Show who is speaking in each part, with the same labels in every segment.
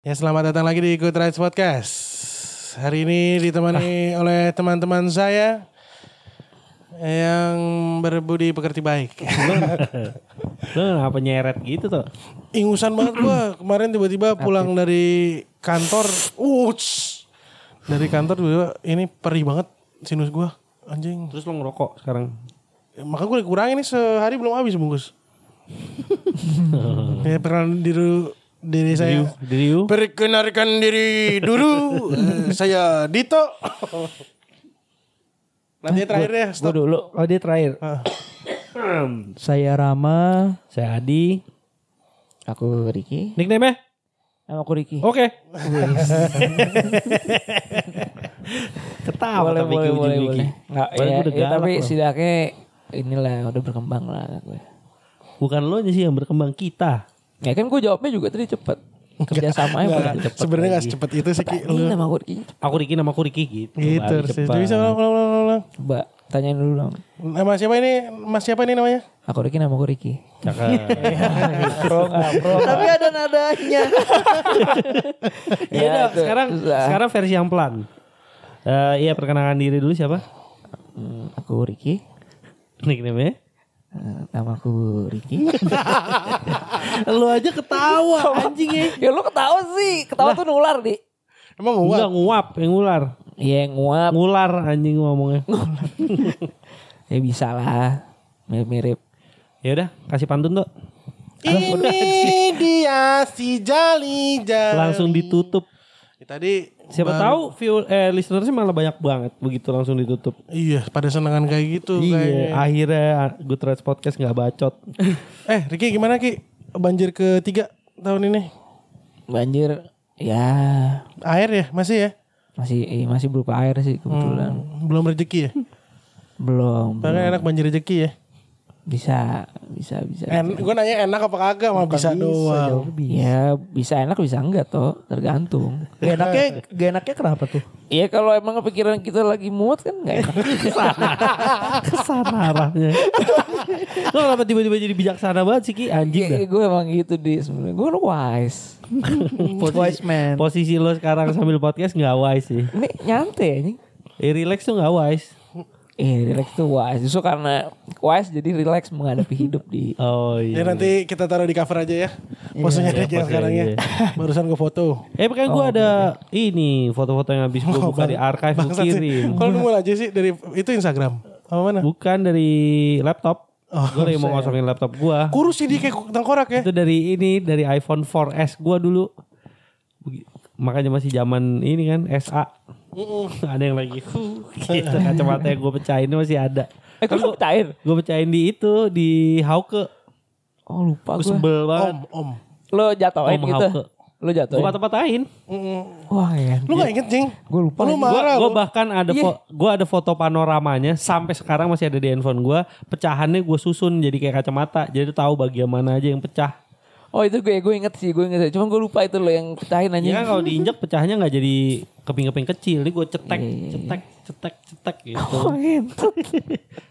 Speaker 1: Ya selamat datang lagi di Good Rides Podcast. Hari ini ditemani oleh teman-teman saya yang berbudi pekerti baik.
Speaker 2: Lu apa nyeret gitu tuh?
Speaker 1: Ingusan banget gua kemarin tiba-tiba pulang dari kantor. Uts. Dari kantor tiba ini perih banget sinus gua. Anjing.
Speaker 2: Terus lu ngerokok sekarang.
Speaker 1: Ya, Maka gue kurangin nih sehari belum habis bungkus. ya perkenalan diri diri saya.
Speaker 2: Diri lu?
Speaker 1: Perkenalkan diri dulu. Eh, saya Dito. Nanti terakhir deh.
Speaker 2: Gua
Speaker 1: Stop.
Speaker 2: dulu. Oh dia terakhir.
Speaker 1: Ah,
Speaker 3: Saya Rama,
Speaker 2: Saya Adi.
Speaker 3: aku Riki,
Speaker 2: Nickname-nya?
Speaker 3: sama aku Riki.
Speaker 2: Oke. Ketawa
Speaker 3: boleh,
Speaker 2: tapi
Speaker 3: boleh, boleh,
Speaker 2: ujung-ujung
Speaker 3: boleh.
Speaker 2: Iki.
Speaker 3: Nggak,
Speaker 2: Padahal gua
Speaker 3: ya,
Speaker 2: udah
Speaker 3: ya,
Speaker 2: galak
Speaker 3: tapi
Speaker 2: loh.
Speaker 3: setidaknya inilah udah berkembang lah anak gue.
Speaker 2: Bukan lo sih yang berkembang kita.
Speaker 3: Ya kan gue jawabnya juga tadi cepet. Kerjasamanya
Speaker 1: nggak,
Speaker 3: malah cepet.
Speaker 1: Nah, Sebenarnya nggak secepat itu sih Ki.
Speaker 3: Ini
Speaker 1: Lu.
Speaker 3: nama aku Riki.
Speaker 2: Aku Riki nama aku Riki gitu.
Speaker 1: Gitu.
Speaker 2: Baru
Speaker 1: Rsi.
Speaker 2: cepat.
Speaker 1: Bisa ulang, ulang, ulang, ulang.
Speaker 3: Coba tanyain dulu dong.
Speaker 1: Nama siapa ini? Mas siapa ini namanya?
Speaker 3: Aku Riki nama aku Riki.
Speaker 2: Cakep.
Speaker 3: Tapi ada nadanya.
Speaker 2: Iya
Speaker 3: Ya,
Speaker 2: dong,
Speaker 3: itu.
Speaker 2: sekarang
Speaker 3: Susah.
Speaker 2: sekarang versi yang pelan. Eh iya perkenalkan diri dulu siapa?
Speaker 3: Hmm, aku Riki.
Speaker 2: Nickname-nya?
Speaker 3: Eh, Nama aku Riki.
Speaker 2: Lo aja ketawa anjing ya.
Speaker 3: ya lu ketawa sih. Ketawa tuh nular di.
Speaker 1: Emang gua.
Speaker 2: Enggak nguap, yang ngular.
Speaker 3: Iya nguap.
Speaker 2: Ngular anjing ngomongnya.
Speaker 3: Ya bisa lah. Mirip-mirip.
Speaker 2: Ya udah, kasih pantun tuh.
Speaker 1: Ini dia si Jali Jali.
Speaker 2: Langsung ditutup.
Speaker 1: Ya, Tadi
Speaker 2: Siapa
Speaker 1: baru-
Speaker 2: tahu view eh listenersnya malah banyak banget begitu langsung ditutup.
Speaker 1: Iya, pada senengan kayak gitu.
Speaker 2: Iya,
Speaker 1: kayaknya.
Speaker 2: akhirnya Good Rides Podcast nggak bacot.
Speaker 1: Eh, Riki gimana Ki? Banjir ketiga tahun ini?
Speaker 3: Banjir. Ya
Speaker 1: Air ya, masih ya?
Speaker 3: masih eh, masih berupa air sih kebetulan
Speaker 1: Belum rezeki ya?
Speaker 3: belum
Speaker 1: Bahkan enak banjir rezeki ya.
Speaker 3: bisa bisa bisa
Speaker 1: En,
Speaker 2: Gitu.
Speaker 1: gue nanya enak apa kagak mah bisa, doang.
Speaker 3: ya bisa enak bisa enggak toh tergantung
Speaker 4: Gak enaknya, gak enaknya kenapa tuh?
Speaker 3: Iya kalau emang kepikiran kita lagi muat kan enggak enak
Speaker 2: Kesana arahnya. Lo kenapa tiba-tiba jadi bijaksana banget sih Ki? Anjing dah.
Speaker 3: Iya, gue emang gitu di sebenarnya gue wise
Speaker 4: Voice man.
Speaker 2: Posisi lo sekarang sambil podcast nggak wise sih.
Speaker 3: ini nyantai anjing
Speaker 2: Eh, relax tuh nggak wise.
Speaker 3: Eh relax tuh wise Justru karena wise jadi relax menghadapi hidup di
Speaker 2: Oh
Speaker 1: Ya
Speaker 2: iya.
Speaker 1: nanti kita taruh di cover aja ya. Posenya Riki yang
Speaker 2: posenya,
Speaker 1: sekarang ya.
Speaker 2: iya.
Speaker 1: Barusan gue foto.
Speaker 2: Eh bukan gue
Speaker 1: Oh,
Speaker 2: ada
Speaker 1: iya,
Speaker 2: ini foto-foto yang habis gue buka di archive gue
Speaker 1: Bangsat Oh, sih.
Speaker 2: kirim.
Speaker 1: Kalau nemu aja sih dari itu Instagram. Apa mana?
Speaker 2: Bukan dari laptop.
Speaker 1: Oh,
Speaker 2: gue lagi mau ngosongin laptop gue.
Speaker 1: Kurus sih dia kayak tengkorak ya.
Speaker 2: Itu dari ini dari iPhone 4S gue dulu. Begi- Makanya masih zaman ini kan SA. ada yang lagi huh, gitu kacamata yang gue pecahin masih ada.
Speaker 3: Eh kok lu cair?
Speaker 2: Gue pecahin di itu di Hauke.
Speaker 3: Oh lupa
Speaker 2: Gue
Speaker 3: gue
Speaker 2: sebel banget.
Speaker 1: Om, om.
Speaker 3: Lo jatoin
Speaker 2: Om
Speaker 3: gitu
Speaker 2: Hauke.
Speaker 3: Lo
Speaker 1: oh,
Speaker 2: Gue
Speaker 3: jatoin
Speaker 2: patah-patahin.
Speaker 1: Mm-mm.
Speaker 3: Wah ya Oh, iya.
Speaker 1: Lu gak inget jing?
Speaker 3: Gue lupa
Speaker 1: Lu
Speaker 3: lagi.
Speaker 1: marah
Speaker 2: Gue
Speaker 1: lu.
Speaker 2: bahkan ada fo- gua ada foto panoramanya sampai sekarang masih ada di handphone gue. Pecahannya gue susun jadi kayak kacamata. Jadi tahu bagian mana aja yang pecah.
Speaker 3: Oh itu gue gue inget sih gue inget sih. Cuman gue lupa itu lo yang pecahin anjing.
Speaker 2: Ya kan kalau diinjak pecahnya nggak jadi keping-keping kecil. Ini gue cetek, cetek, cetek, cetek gitu.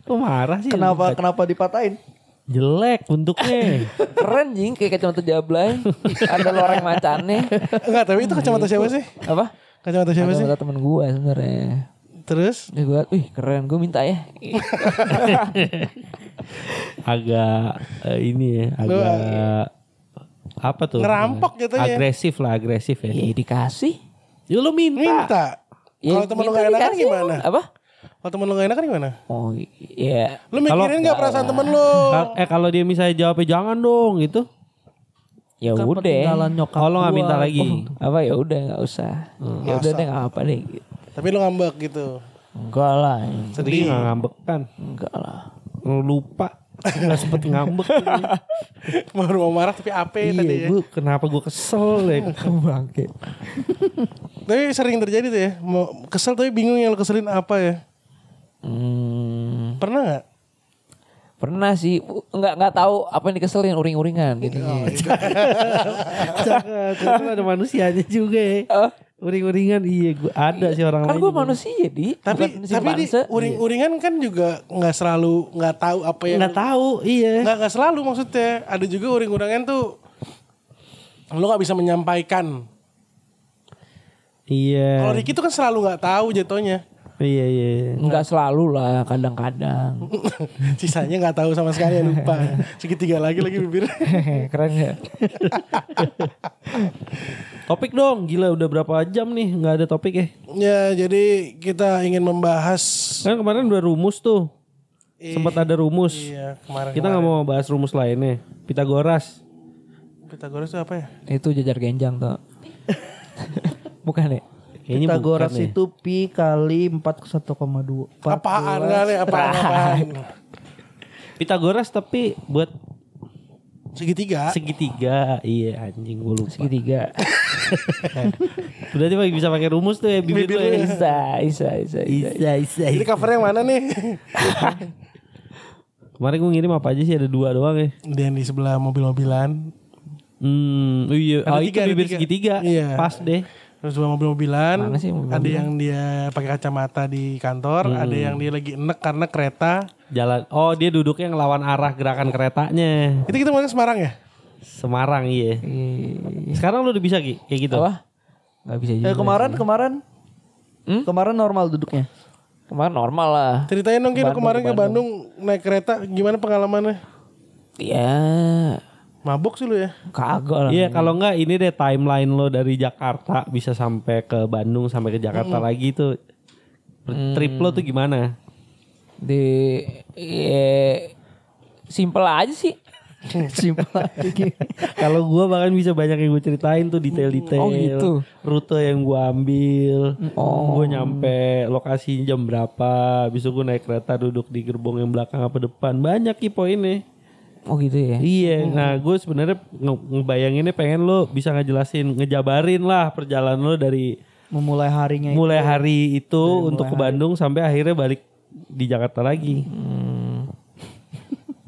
Speaker 2: Kok marah sih?
Speaker 4: Kenapa kenapa dipatahin?
Speaker 2: Jelek bentuknya.
Speaker 3: Keren jing kayak kacamata jablay. Ada loreng macannya.
Speaker 1: Enggak, tapi itu kacamata siapa sih?
Speaker 3: Apa?
Speaker 1: Kacamata siapa sih?
Speaker 3: Kacamata temen gue sebenarnya.
Speaker 1: Terus
Speaker 3: Ya gue, wih keren gue minta ya.
Speaker 2: agak eh, ini ya, agak apa tuh?
Speaker 1: Ngerampok
Speaker 4: gitu ya.
Speaker 1: jatuhnya.
Speaker 2: Agresif lah, agresif ya.
Speaker 3: ya dikasih.
Speaker 2: Ya lu minta.
Speaker 1: minta. Kalau temen lu
Speaker 3: minta
Speaker 1: gak enakan
Speaker 3: dikasih
Speaker 1: gimana?
Speaker 3: emang. Apa?
Speaker 1: Kalau temen lu gak enakan gimana?
Speaker 3: Oh iya.
Speaker 1: Lu mikirin gak perasaan temen lu?
Speaker 2: Kal- Eh kalau dia misalnya jawabnya jangan dong gitu.
Speaker 3: Ya udah.
Speaker 2: Oh lo gak minta lagi.
Speaker 3: Apa ya udah nggak usah. Ya
Speaker 1: Hmm.
Speaker 3: udah deh nggak apa deh. gitu.
Speaker 1: Tapi lu ngambek gitu.
Speaker 3: Enggak lah. ya."
Speaker 2: Sedih nggak ngambek kan?
Speaker 3: Enggak lah.
Speaker 2: Lu Lupa. Gak sempet ngambek.
Speaker 1: Baru mau marah tapi ape tadi ya.
Speaker 2: iya, gue kenapa gue kesel ya?
Speaker 3: Bangke.
Speaker 1: Tapi sering terjadi tuh ya. Mau kesel tapi bingung yang lo keselin apa ya.
Speaker 3: Hmm.
Speaker 1: Pernah nggak?
Speaker 3: Pernah sih, Bu, nggak nggak tahu apa yang dikeselin uring-uringan gitu.
Speaker 1: Iya.
Speaker 2: Cakep, itu Nah, ada manusianya juga ya.
Speaker 3: Eh,
Speaker 2: Uring-uringan iya gue ada sih orang
Speaker 3: kan
Speaker 2: lain.
Speaker 3: gue
Speaker 2: juga.
Speaker 3: manusia jadi,
Speaker 1: Tapi
Speaker 3: bukan mesin
Speaker 1: tapi di
Speaker 3: panse.
Speaker 1: uring-uringan kan juga nggak selalu nggak tahu apa yang
Speaker 2: nggak tahu, iya.
Speaker 1: nggak nggak selalu maksudnya. Ada juga uring-uringan tuh lo nggak bisa menyampaikan Kalau
Speaker 2: Iya.
Speaker 1: Ricky tuh kan selalu nggak tahu jatuhnya.
Speaker 2: Iya iya. iya.
Speaker 3: Enggak selalu lah, kadang-kadang.
Speaker 1: Sisanya nggak tahu sama sekali ya, lupa. Segitiga lagi lagi bibir.
Speaker 3: Keren ya.
Speaker 2: Topik dong, gila udah berapa jam nih nggak ada topik ya?
Speaker 1: ya jadi kita ingin membahas
Speaker 2: Kan kemarin udah rumus tuh,
Speaker 1: eh,
Speaker 2: sempat ada rumus.
Speaker 1: Iya kemarin.
Speaker 2: Kita nggak mau bahas rumus lainnya. Pitagoras.
Speaker 1: Pitagoras itu apa ya?
Speaker 3: Itu jajar genjang tuh. Bukan ya?
Speaker 2: Kayaknya
Speaker 4: Pitagoras
Speaker 2: bukan ya.
Speaker 4: itu pi kali 4 ke 1,2. Empat
Speaker 1: Apaan
Speaker 4: belas.
Speaker 1: kali? Apaan? apaan?
Speaker 2: Pitagoras tapi buat
Speaker 1: Segitiga.
Speaker 2: segitiga. Iya anjing gue lupa.
Speaker 3: Segitiga.
Speaker 2: Berarti pakai- bisa pakai rumus tuh ya bibir,
Speaker 1: Bibir
Speaker 2: lu ya.
Speaker 3: Isa, Isa, Isa, Isa.
Speaker 2: Iya, iya,
Speaker 1: Jadi
Speaker 2: iya.
Speaker 1: covernya yang mana nih?
Speaker 2: Kemarin gue ngirim apa aja sih ada dua doang ya.
Speaker 1: Dan di sebelah mobil-mobilan.
Speaker 2: Hmm, iya.
Speaker 1: Ada
Speaker 2: oh,
Speaker 1: tiga, ada
Speaker 2: itu bibir
Speaker 1: tiga.
Speaker 2: segitiga.
Speaker 1: Iya.
Speaker 2: Pas deh.
Speaker 1: Terus dua mobil-mobilan,
Speaker 3: Mana sih mobil-mobilan?
Speaker 1: ada yang dia pakai kacamata di kantor, ada yang dia lagi enek karena kereta.
Speaker 2: Jalan. Oh, dia duduknya ngelawan arah gerakan keretanya.
Speaker 1: Itu kita kemarin Semarang ya?
Speaker 2: Semarang iya. Sekarang lu udah bisa Ki? kayak gitu.
Speaker 3: Apa? Gak bisa juga.
Speaker 4: Eh kemarin kemarin
Speaker 3: Hmm?
Speaker 4: kemarin normal duduknya.
Speaker 3: Kemarin normal lah.
Speaker 1: Ceritain dong Kino
Speaker 3: Bandung,
Speaker 1: kemarin ke Bandung naik kereta gimana pengalamannya?
Speaker 3: Ya,
Speaker 1: Mabuk sih lu ya.
Speaker 3: kagak lah.
Speaker 2: Iya, kalau enggak ini deh timeline lo dari Jakarta bisa sampai ke Bandung sampai ke Jakarta lagi tuh. Trip lo tuh gimana?
Speaker 3: Di eh, simple aja sih. simple aja.
Speaker 2: Kalau gua bahkan bisa banyak yang gue ceritain tuh detail-detail.
Speaker 3: Oh, gitu.
Speaker 2: Rute yang gua ambil. Gue nyampe lokasi jam berapa. Habis itu gue naik kereta duduk di gerbong yang belakang apa depan. Banyak ki poinnya.
Speaker 3: Oh gitu ya.
Speaker 2: Iya, nah gue sebenarnya nge- ngebayanginnya pengen lo bisa ngejelasin, ngejabarin lah perjalanan lo dari
Speaker 4: Memulai harinya itu.
Speaker 2: mulai hari itu untuk ke Bandung sampai akhirnya balik di Jakarta lagi.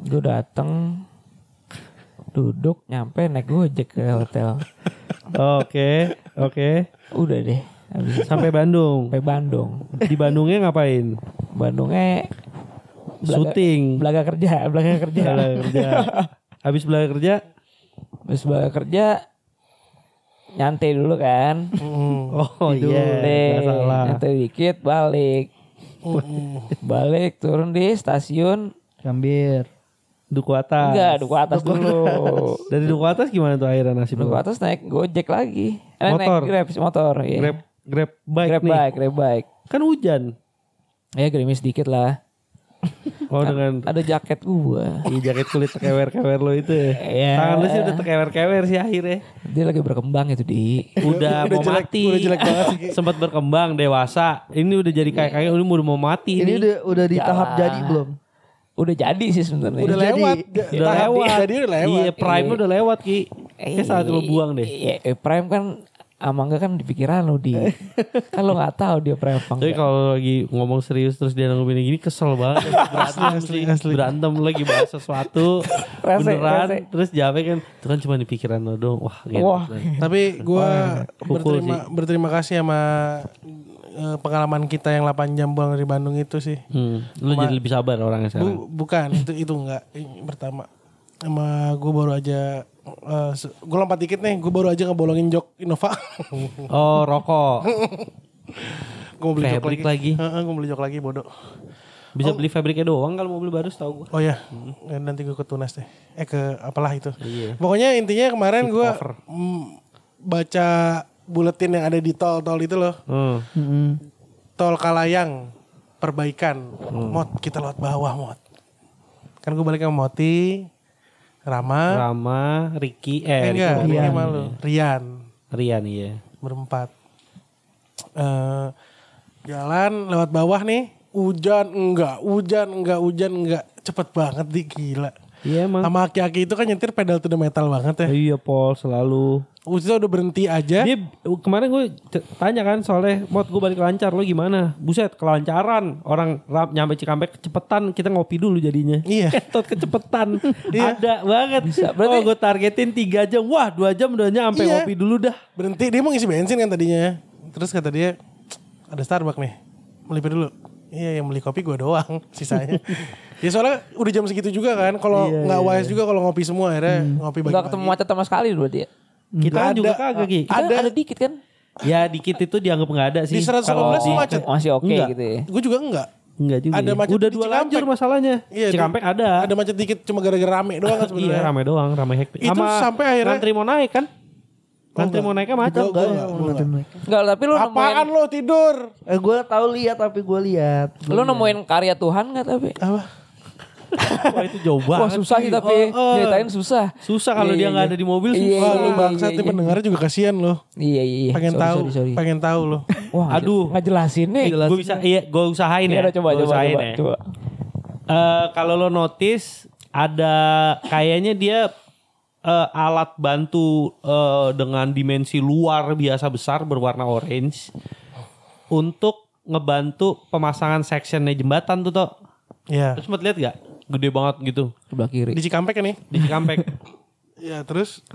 Speaker 3: Gue dateng duduk nyampe naik gojek ke hotel.
Speaker 2: Oke, oke.
Speaker 3: Udah deh. Habis itu
Speaker 2: Sampai Bandung.
Speaker 3: sampai Bandung.
Speaker 2: Di Bandungnya ngapain?
Speaker 3: Bandungnya
Speaker 2: Syuting.
Speaker 3: belaga kerja, belaga kerja.
Speaker 2: Belaga kerja. Habis belajar kerja,
Speaker 3: Terus belaga kerja nyantai dulu kan.
Speaker 2: oh iya,
Speaker 3: deh,
Speaker 2: nggak salah.
Speaker 3: nyantai dikit balik. balik turun di stasiun
Speaker 4: Gambir.
Speaker 2: Duku atas.
Speaker 3: enggak duku atas dulu.
Speaker 2: Dari duku Ah. atas gimana tuh akhirnya nasib
Speaker 3: duku
Speaker 2: lo?
Speaker 3: atas naik Gojek lagi. Eh,
Speaker 2: Motor.
Speaker 3: Naik Grab sih, motor ya.
Speaker 2: Grab, grab bike
Speaker 3: Grab
Speaker 2: nih.
Speaker 3: bike, Grab bike.
Speaker 2: Kan hujan.
Speaker 3: Ya gerimis dikit lah. Kan
Speaker 2: Oh dengan
Speaker 3: Ada jaket gua.
Speaker 2: Iya jaket kulit tekewer-kewer lo itu ya.
Speaker 3: Iya.
Speaker 2: Tangan lu sih udah tekewer-kewer sih akhirnya.
Speaker 3: Dia lagi berkembang itu di.
Speaker 2: Udah,
Speaker 1: Udah
Speaker 2: mau
Speaker 1: jelek-
Speaker 2: mati.
Speaker 1: udah jelek banget sih, Ki.
Speaker 2: Sempat berkembang, dewasa. Ini udah jadi kayak-kayak udah mau- udah mau mati
Speaker 4: Ini
Speaker 2: ini.
Speaker 4: udah udah di tahap
Speaker 3: Jalan.
Speaker 4: jadi belum?
Speaker 3: Udah Iya. jadi sih sebenarnya.
Speaker 1: Udah
Speaker 4: Jadi-
Speaker 1: lewat.
Speaker 2: Udah
Speaker 1: Tahap
Speaker 2: lewat.
Speaker 1: Tadi udah lewat.
Speaker 2: Iya, prime udah lewat, Ki. Kayak saat lo
Speaker 3: Eh,
Speaker 2: buang deh.
Speaker 3: Iya, eh, Prime kan ama enggak kan di pikiran lo di. Kalau nggak tahu dia Prime apa
Speaker 2: Tapi
Speaker 3: enggak.
Speaker 2: kalau lagi ngomong serius terus dia nanggupin gini kesel banget. Berantem sih. Berantem lagi bahas sesuatu.
Speaker 3: Rese,
Speaker 2: beneran.
Speaker 3: rese.
Speaker 2: Terus jawabnya kan. Itu kan cuma di pikiran lo doang. Wah gitu.
Speaker 3: Wah.
Speaker 1: Tapi gue
Speaker 2: Pukul
Speaker 1: berterima berterima kasih sama eh, pengalaman kita yang 8 jam pulang dari Bandung itu sih.
Speaker 2: Hmm, lu jadi lebih sabar orangnya sekarang.
Speaker 1: Bu, bukan itu itu enggak Ini pertama. Sama gue baru aja gue lompat dikit nih, gue baru aja ngebolongin jok Innova.
Speaker 2: Oh rokok.
Speaker 1: gue mau beli jok
Speaker 2: Fabric
Speaker 1: lagi.
Speaker 2: lagi.
Speaker 1: Heeh, gua beli jok lagi bodoh.
Speaker 2: Bisa beli fabriknya doang kalau mobil baru setahu gua.
Speaker 1: Oh ya, nanti gue ke Tunas deh. Eh ke apalah itu.
Speaker 2: Iya.
Speaker 1: Pokoknya intinya kemarin gue baca buletin yang ada di tol-tol itu loh.
Speaker 2: Hmm.
Speaker 4: Mm-mm.
Speaker 1: Tol Kalayang perbaikan.
Speaker 2: Hmm.
Speaker 1: Mot kita lewat bawah mot. Kan gue balik sama Moti, Rama,
Speaker 2: Rama, Ricky,
Speaker 1: eh,
Speaker 2: eh,
Speaker 1: enggak,
Speaker 2: Ricky,
Speaker 1: Rian.
Speaker 2: Rian.
Speaker 1: malu. Rian
Speaker 2: Rian iya.
Speaker 1: berempat. Eh, jalan lewat bawah nih. Hujan enggak, hujan enggak, hujan enggak. Cepet banget di gila.
Speaker 2: Iya emang.
Speaker 1: Sama aki-aki itu kan nyetir pedal to the metal banget ya.
Speaker 2: Iya Paul selalu.
Speaker 1: Usia udah berhenti aja.
Speaker 2: Dia kemarin gue tanya kan soalnya mod gue balik lancar lo gimana? Buset kelancaran orang rap, nyampe Cikampek kecepetan kita ngopi dulu jadinya.
Speaker 1: Iya.
Speaker 2: Ketot kecepetan. Ada banget.
Speaker 3: berarti-
Speaker 2: Oh gue targetin 3 jam. Wah 2 jam udah nyampe
Speaker 1: Iya.
Speaker 2: ngopi dulu dah.
Speaker 1: Berhenti, dia mau ngisi bensin kan tadinya. Terus kata dia, "Cek, ada Starbucks nih. Melipir dulu. Iya yang beli kopi gue doang sisanya. ya soalnya udah jam segitu juga kan.
Speaker 2: Iya,
Speaker 1: Kalau nggak wise juga kalau ngopi semua akhirnya ngopi
Speaker 3: Enggak
Speaker 1: bagi-bagi.
Speaker 3: ketemu macet sama sekali dulu dia.
Speaker 2: Kita kan
Speaker 1: Ada.
Speaker 2: juga kagak Ki.
Speaker 3: ya? Kita
Speaker 1: Ada.
Speaker 3: ada dikit kan? Iya.
Speaker 2: Ya dikit itu dianggap nggak ada
Speaker 1: Di
Speaker 2: sih.
Speaker 1: 118
Speaker 2: Kalau
Speaker 1: masih
Speaker 2: di-
Speaker 1: macet.
Speaker 3: Masih oke
Speaker 2: Enggak.
Speaker 3: gitu ya.
Speaker 1: Gue juga enggak.
Speaker 2: Enggak juga.
Speaker 1: Ada
Speaker 2: ya.
Speaker 1: macet
Speaker 2: Udah
Speaker 1: di
Speaker 2: dua
Speaker 1: Cikampek.
Speaker 2: lajur masalahnya.
Speaker 1: Iya, di-
Speaker 2: Cikampek ada.
Speaker 1: Ada macet dikit cuma gara-gara rame doang kan
Speaker 2: Iya
Speaker 1: sebenarnya.
Speaker 2: ramai doang, ramai hektik.
Speaker 1: Itu sampai akhirnya-
Speaker 2: ngantri mau naik kan?
Speaker 1: Oh,
Speaker 2: Ngantri mau
Speaker 1: enggak.
Speaker 2: naiknya macet.
Speaker 1: Gua- gua enggak, gua enggak.
Speaker 3: Enggak, tapi lu
Speaker 1: Apaan
Speaker 3: nemuin
Speaker 1: Kan lo tidur?
Speaker 4: Eh, gue tahu lihat tapi gue lihat.
Speaker 3: lu nemuin karya Tuhan enggak tapi?
Speaker 1: Apa?
Speaker 2: Wah itu jauh
Speaker 3: Wah,
Speaker 2: banget.
Speaker 3: susah sih tapi
Speaker 2: Oh, oh.
Speaker 3: ceritain susah.
Speaker 2: Susah kalau
Speaker 3: Iya,
Speaker 2: dia
Speaker 3: iya,
Speaker 2: nggak
Speaker 3: iya.
Speaker 2: ada di mobil
Speaker 3: Iya,
Speaker 2: susah.
Speaker 1: Wah, lu
Speaker 3: iya,
Speaker 1: bangsat
Speaker 3: iya,
Speaker 1: nih
Speaker 3: iya.
Speaker 1: pendengarnya juga kasihan lo.
Speaker 3: Iya iya iya.
Speaker 1: Pengen
Speaker 3: Sorry,
Speaker 1: tahu,
Speaker 3: sorry, sorry.
Speaker 1: pengen tahu lo.
Speaker 3: Wah,
Speaker 2: Aduh.
Speaker 3: nggak jelasin nih.
Speaker 2: Gue bisa, iya, gue usahain
Speaker 3: Ini
Speaker 2: ya.
Speaker 3: ada coba
Speaker 2: Gua
Speaker 3: coba
Speaker 2: usahain
Speaker 3: coba.
Speaker 2: ya.
Speaker 3: coba.
Speaker 2: Eh, kalau lo notice ada kayaknya dia eh, alat bantu eh, dengan dimensi luar biasa besar berwarna orange untuk ngebantu pemasangan sectionnya jembatan tuh toh.
Speaker 1: Iya.
Speaker 2: Terus sempet lihat gak? Gede banget gitu
Speaker 3: Sebelah kiri.
Speaker 1: Di Cikampek kan nih.
Speaker 2: di Cikampek.
Speaker 1: Iya, terus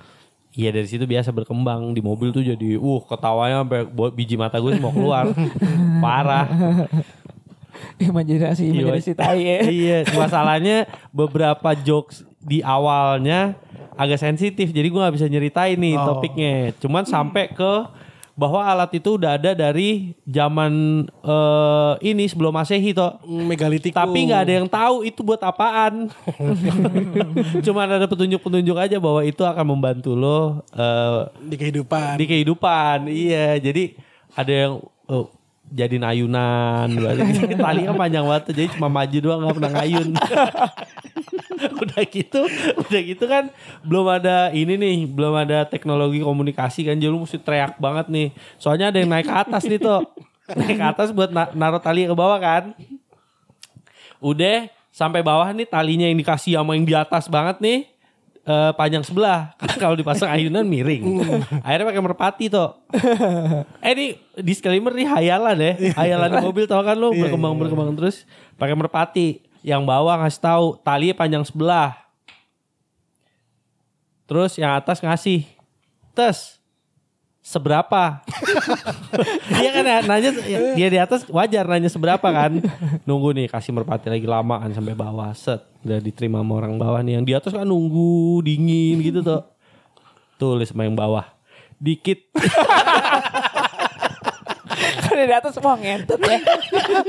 Speaker 2: Iya dari situ biasa berkembang di mobil tuh jadi uh ketawanya sampai bo- biji mata gue mau keluar parah.
Speaker 3: Imajinasi imajinasi tai ya.
Speaker 2: iya masalahnya beberapa jokes di awalnya agak sensitif jadi gue nggak bisa nyeritain nih
Speaker 1: Oh.
Speaker 2: topiknya. Cuman sampai ke bahwa alat itu udah ada dari zaman eh, ini sebelum masehi toh.
Speaker 1: megalitiku.
Speaker 2: Tapi nggak ada yang tahu itu buat apaan. Cuman ada petunjuk-petunjuk aja bahwa itu akan membantu lo eh,
Speaker 1: di kehidupan.
Speaker 2: di kehidupan. Iya, jadi ada yang oh, jadiin ayunan berarti talinya kan panjang banget tuh, jadi cuma maju doang nggak pernah ngayun udah gitu udah gitu kan belum ada ini nih belum ada teknologi komunikasi kan jadi lu mesti teriak banget nih soalnya ada yang naik ke atas nih tuh naik ke atas buat na- naruh tali ke bawah kan udah sampai bawah nih talinya yang dikasih sama yang di atas banget nih eh, panjang sebelah Karena kalau dipasang ayunan miring akhirnya pakai merpati tuh eh ini disclaimer nih hayalan ya hayalan di mobil tau kan lu berkembang berkembang terus pakai merpati yang bawah ngasih tahu tali panjang sebelah terus yang atas ngasih tes seberapa Iya kan ya, nanya dia di atas wajar nanya seberapa kan. Nunggu nih kasih merpati lagi lamaan sampai bawah set. Udah diterima sama orang bawah nih yang di atas kan nunggu dingin gitu tuh. Tulis sama yang bawah. Dikit
Speaker 3: Kan di atas semua ngentet ya.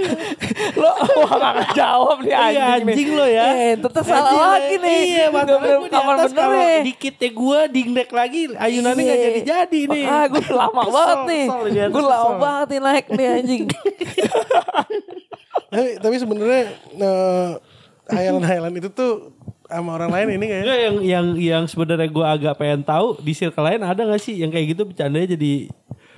Speaker 3: lo wah nggak jawab nih anjing.
Speaker 2: Iya, anjing lo ya.
Speaker 3: Ngentet tuh salah
Speaker 2: Anjing,
Speaker 3: lagi nih.
Speaker 2: Iya,
Speaker 3: Udah
Speaker 2: masalahnya gue di
Speaker 3: kapan
Speaker 2: atas
Speaker 3: bener
Speaker 2: kalau
Speaker 3: ya.
Speaker 2: dikitnya gue dingdek lagi ayunannya nggak
Speaker 3: Iya.
Speaker 2: jadi-jadi nih.
Speaker 3: Ah, gue lama
Speaker 2: Kesel,
Speaker 3: banget nih.
Speaker 2: kesel di atas,
Speaker 3: Gue lama
Speaker 2: kesel.
Speaker 3: banget nih naik nih anjing.
Speaker 1: tapi, tapi sebenarnya eh, hayalan-hayalan itu tuh sama orang lain ini kayak
Speaker 2: Enggak, yang yang yang sebenarnya gue agak pengen tahu di circle lain ada gak sih yang kayak gitu bercandanya jadi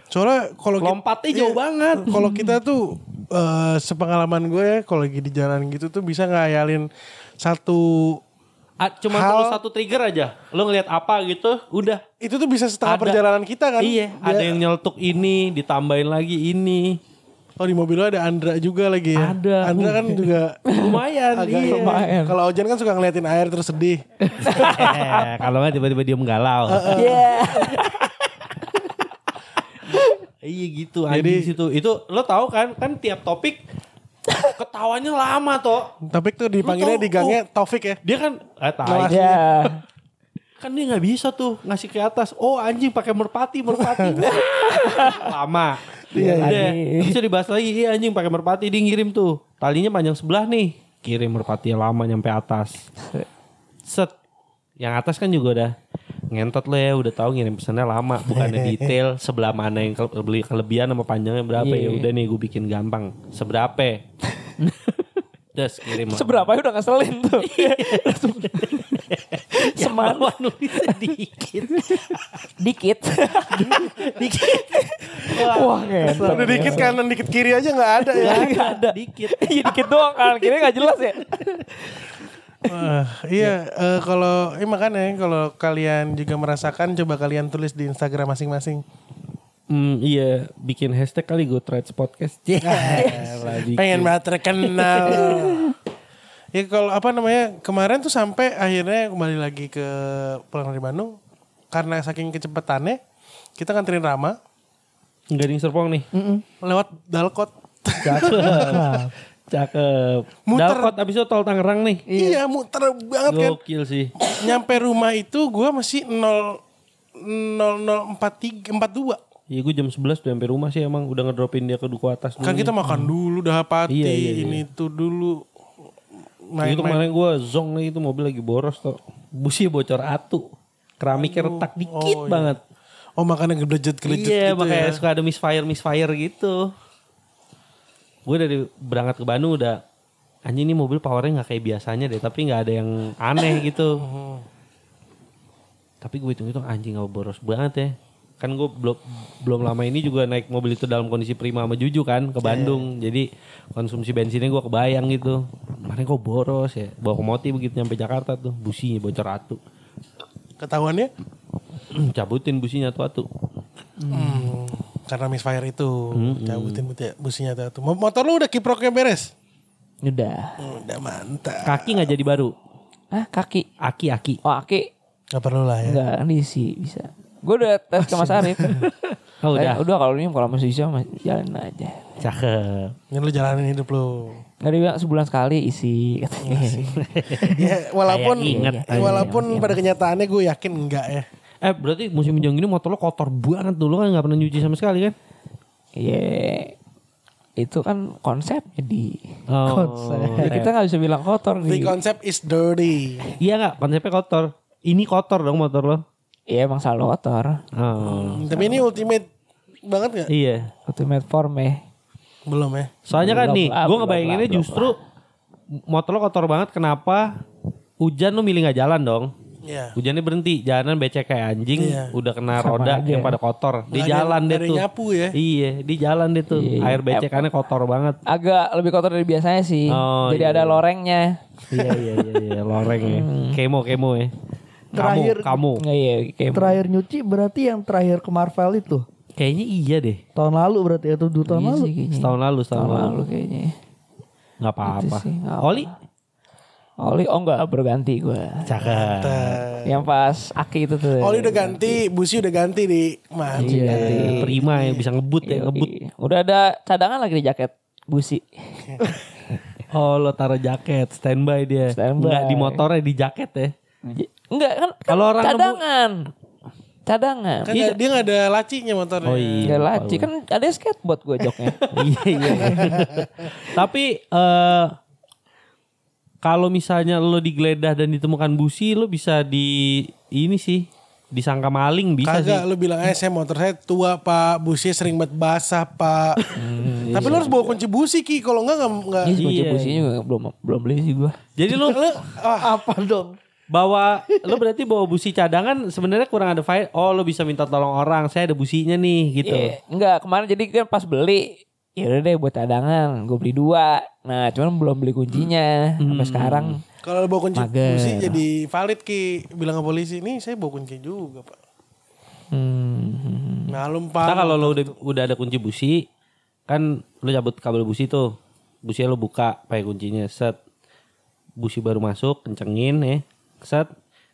Speaker 1: Soalnya kalau kit-
Speaker 2: Lompatnya
Speaker 1: iya,
Speaker 2: jauh banget.
Speaker 1: Kalau kita tuh eh, sepengalaman gue ya kalau lagi di jalan gitu tuh bisa ngayalin satu
Speaker 2: Ah, cuma
Speaker 1: Hal-
Speaker 2: perlu satu trigger aja. Lo ngelihat apa gitu, udah.
Speaker 1: itu tuh bisa setengah
Speaker 2: Ada.
Speaker 1: perjalanan kita kan.
Speaker 2: iya,
Speaker 1: Dia-
Speaker 2: ada yang nyeletuk ini, ditambahin lagi ini.
Speaker 1: Oh di mobil lo ada Andra juga lagi ya.
Speaker 2: Ada.
Speaker 1: Andra kan juga
Speaker 2: Lumayan,
Speaker 1: agak
Speaker 2: iya.
Speaker 3: lumayan.
Speaker 1: Kalau Ojan kan suka ngeliatin air terus sedih.
Speaker 2: Eh, Kalau nggak tiba-tiba dia menggalau.
Speaker 3: Iya.
Speaker 2: iya gitu, anjing situ. Itu lo tahu kan, kan tiap topik ketawanya lama toh.
Speaker 1: Topik tuh dipanggilnya
Speaker 2: Lu tau-
Speaker 1: di gangnya Taufik ya.
Speaker 2: Dia kan, eh, tai.
Speaker 1: Ngelas.
Speaker 3: Iya.
Speaker 2: kan dia nggak bisa tuh ngasih ke atas. Oh anjing pakai merpati, merpati. lama.
Speaker 3: Iya,
Speaker 2: Udah,
Speaker 3: lagi.
Speaker 2: bisa dibahas lagi. Iya anjing pakai merpati dia ngirim tuh. Talinya panjang sebelah nih. Kirim merpati yang lama nyampe atas. Set. Yang atas kan juga udah ngentot lo ya udah tahu ngirim pesannya lama bukannya detail sebelah mana yang kele- beli kelebihan sama panjangnya berapa ya
Speaker 3: Iya.
Speaker 2: udah nih gue bikin gampang seberapa terus kirim
Speaker 3: Seberapa ya udah ngeselin tuh.
Speaker 2: Iya. semangat nulis sedikit
Speaker 3: Dikit.
Speaker 2: dikit
Speaker 3: Wah ngentet.
Speaker 2: Iya.
Speaker 1: Udah dikit kanan dikit kiri aja nggak ada ya.
Speaker 2: Gak ada dikit
Speaker 3: Iya dikit doang kan. Kira nggak jelas ya.
Speaker 1: Wah,
Speaker 2: Ah,
Speaker 1: iya eh, kalau eh, makanya kalau kalian juga merasakan coba kalian tulis di Instagram masing-masing.
Speaker 2: Hmm, iya bikin hashtag kali gue threads podcast. Lagi.
Speaker 1: Pengen banget terkenal. ya kalau apa namanya kemarin tuh sampai akhirnya kembali lagi ke pulang dari Bandung karena saking kecepatannya kita nganterin Rama
Speaker 2: Gading Serpong nih.
Speaker 1: Mm. lewat Dalkot.
Speaker 2: Cakep. Cakep.
Speaker 1: Muter.
Speaker 2: Dalkot abis itu tol Tangerang nih.
Speaker 1: Iya, muter banget kan.
Speaker 2: Gokil sih.
Speaker 1: Nyampe rumah itu gue masih 0 0043 42.
Speaker 2: Iya gue jam 11 udah sampai rumah sih emang udah ngedropin dia ke duku atas dulu.
Speaker 1: Kan kita makan dulu dah pati
Speaker 2: Oh, Iya, iya, iya.
Speaker 1: ini tuh dulu
Speaker 2: Iya, itu
Speaker 1: main-main.
Speaker 2: kemarin gue zong lagi itu mobil lagi boros tuh. Busi bocor atu. Keramiknya retak dikit
Speaker 1: Oh, iya.
Speaker 2: banget.
Speaker 1: Oh makanya gelejet gelejet
Speaker 2: Iya
Speaker 1: gitu
Speaker 2: makanya
Speaker 1: ya.
Speaker 2: suka ada misfire misfire gitu. Gue dari berangkat ke Bandung udah anjing ini mobil powernya nggak kayak biasanya deh tapi nggak ada yang aneh gitu. tapi gue hitung-hitung anjing nggak boros banget ya. Kan gue belum belum lama ini juga naik mobil itu dalam kondisi prima sama Juju kan
Speaker 1: Iya.
Speaker 2: ke Bandung. Jadi konsumsi bensinnya gue kebayang gitu. Kemarin kok boros ya. Bawa ke Moti begitu nyampe Jakarta tuh businya bocor atu.
Speaker 1: Ketahuannya
Speaker 2: Cabutin businya atu-atu.
Speaker 1: Hmm, karena misfire itu cabutin buti- businya tuh. tuh. Mo- Motor lu udah kiproknya beres?
Speaker 3: Udah.
Speaker 1: Udah mantap.
Speaker 2: Kaki nggak jadi baru.
Speaker 3: Ah kaki.
Speaker 2: Aki-aki.
Speaker 3: Oh kaki.
Speaker 1: Gak perlu lah ya.
Speaker 3: Enggak diisi bisa. Gue udah tes ke Mas Arif.
Speaker 2: Oh
Speaker 3: Eh,
Speaker 2: udah.
Speaker 3: udah kalau ini kalau masih bisa mas- jalan aja.
Speaker 2: Cakep.
Speaker 1: Ini lu jalanin hidup lu.
Speaker 3: Nggak dia bilang sebulan sekali isi katanya.
Speaker 1: ya, walaupun
Speaker 2: Kayak inget.
Speaker 1: ya, walaupun
Speaker 3: Iya, iya.
Speaker 1: pada kenyataannya gue yakin enggak ya.
Speaker 2: Eh berarti musim hujan gini motor lo kotor banget dulu kan nggak pernah nyuci sama sekali kan?
Speaker 3: Iya. Itu kan konsepnya di.
Speaker 2: Oh.
Speaker 3: Ya, kita nggak bisa bilang kotor
Speaker 1: The
Speaker 3: nih.
Speaker 1: concept is dirty.
Speaker 2: Iya nggak konsepnya kotor. Ini kotor dong motor lo.
Speaker 3: Iya emang selalu kotor.
Speaker 2: Oh.
Speaker 1: Tapi ini ultimate banget gak?
Speaker 2: Iya.
Speaker 3: Ultimate form ya.
Speaker 1: Belum ya.
Speaker 2: Soalnya kan
Speaker 3: Belum
Speaker 2: nih, gue
Speaker 3: lah, belum
Speaker 2: ngebayanginnya
Speaker 3: lah, belum
Speaker 2: justru motor lo kotor banget. Kenapa? Hujan lo milih nggak jalan dong?
Speaker 1: Iya.
Speaker 2: Hujannya berhenti, jalanan becek kayak anjing,
Speaker 1: Iya.
Speaker 2: udah kena
Speaker 3: Sama
Speaker 2: roda
Speaker 3: aja.
Speaker 2: yang pada kotor.
Speaker 1: Nggak
Speaker 2: Di
Speaker 1: ada-
Speaker 2: jalan
Speaker 1: nggak
Speaker 2: deh
Speaker 1: ada
Speaker 2: tuh.
Speaker 1: nyapu ya.
Speaker 2: Iya, di jalan deh tuh.
Speaker 3: Iya.
Speaker 2: Air becekannya kotor banget.
Speaker 3: Agak lebih kotor dari biasanya sih.
Speaker 2: Oh,
Speaker 3: Jadi
Speaker 2: iya.
Speaker 3: ada lorengnya.
Speaker 2: iya iya iya iya loreng ya. Kemo kemo ya. Kamu
Speaker 4: Terakhir-
Speaker 2: kamu.
Speaker 3: Nggak iya kayak
Speaker 4: Terakhir nyuci berarti yang terakhir ke Marvel itu.
Speaker 2: Kayaknya iya deh.
Speaker 4: Tahun lalu berarti atau dua tahun
Speaker 3: Iya
Speaker 4: lalu.
Speaker 3: sih kayaknya.
Speaker 2: Setahun lalu setahun
Speaker 3: Tahun
Speaker 2: lalu.
Speaker 3: lalu kayaknya.
Speaker 2: Enggak apa-apa.
Speaker 3: Itu sih, nggak apa-apa.
Speaker 2: Oli
Speaker 3: Oli oh enggak berganti gue.
Speaker 2: cakep.
Speaker 1: Nah,
Speaker 3: Yang pas Aki itu tuh.
Speaker 1: Oli udah ganti, Busi udah ganti di mantap.
Speaker 3: Iya.
Speaker 2: Eh, Prima ya bisa ngebut ya
Speaker 3: Yoi.
Speaker 2: ngebut.
Speaker 3: Udah ada cadangan lagi di jaket busi.
Speaker 2: Oh lo taruh jaket standby dia.
Speaker 3: Standby.
Speaker 2: Nggak di motornya di jaket ya.
Speaker 3: J- Enggak kan, kan
Speaker 2: Kalau orang nemu-
Speaker 3: cadangan. Cadangan.
Speaker 1: Kan nggak- dia gak ada lacinya motornya.
Speaker 2: Oh iya.
Speaker 3: Iya laci kan ada skateboard gue joknya.
Speaker 2: iya iya. Tapi eh kalau misalnya lo digeledah dan ditemukan busi, lo bisa di ini sih disangka maling bisa sih.
Speaker 1: Kagak lu bilang eh saya motor saya tua pak Businya sering banget basah pak Tapi lu harus bawa kunci busi Ki Kalau enggak enggak, enggak.
Speaker 3: Ini kunci
Speaker 2: Hmm, Iya.
Speaker 3: businya juga belum belum beli sih gue.
Speaker 2: Jadi lo
Speaker 1: Lu, ah,
Speaker 4: Apa dong?
Speaker 2: bawa lo berarti bawa busi cadangan sebenarnya kurang ada file. Oh, lo bisa minta tolong orang. Saya ada businya nih gitu.
Speaker 3: Iya, enggak kemarin jadi kan pas beli ya udah deh buat cadangan gue beli dua nah cuman belum beli kuncinya sampai sekarang
Speaker 1: Kalau lu bawa kunci
Speaker 3: Mager.
Speaker 1: busi jadi valid Ki Bilang ke polisi Nih saya bawa kunci juga pak
Speaker 3: hmm.
Speaker 1: Ngalum
Speaker 2: Nah,
Speaker 1: pak
Speaker 2: kalau lo udah udah ada kunci busi, kan lo cabut kabel busi tuh. Businya lo buka pakai kuncinya, set. Busi baru masuk, kencengin ya. Set.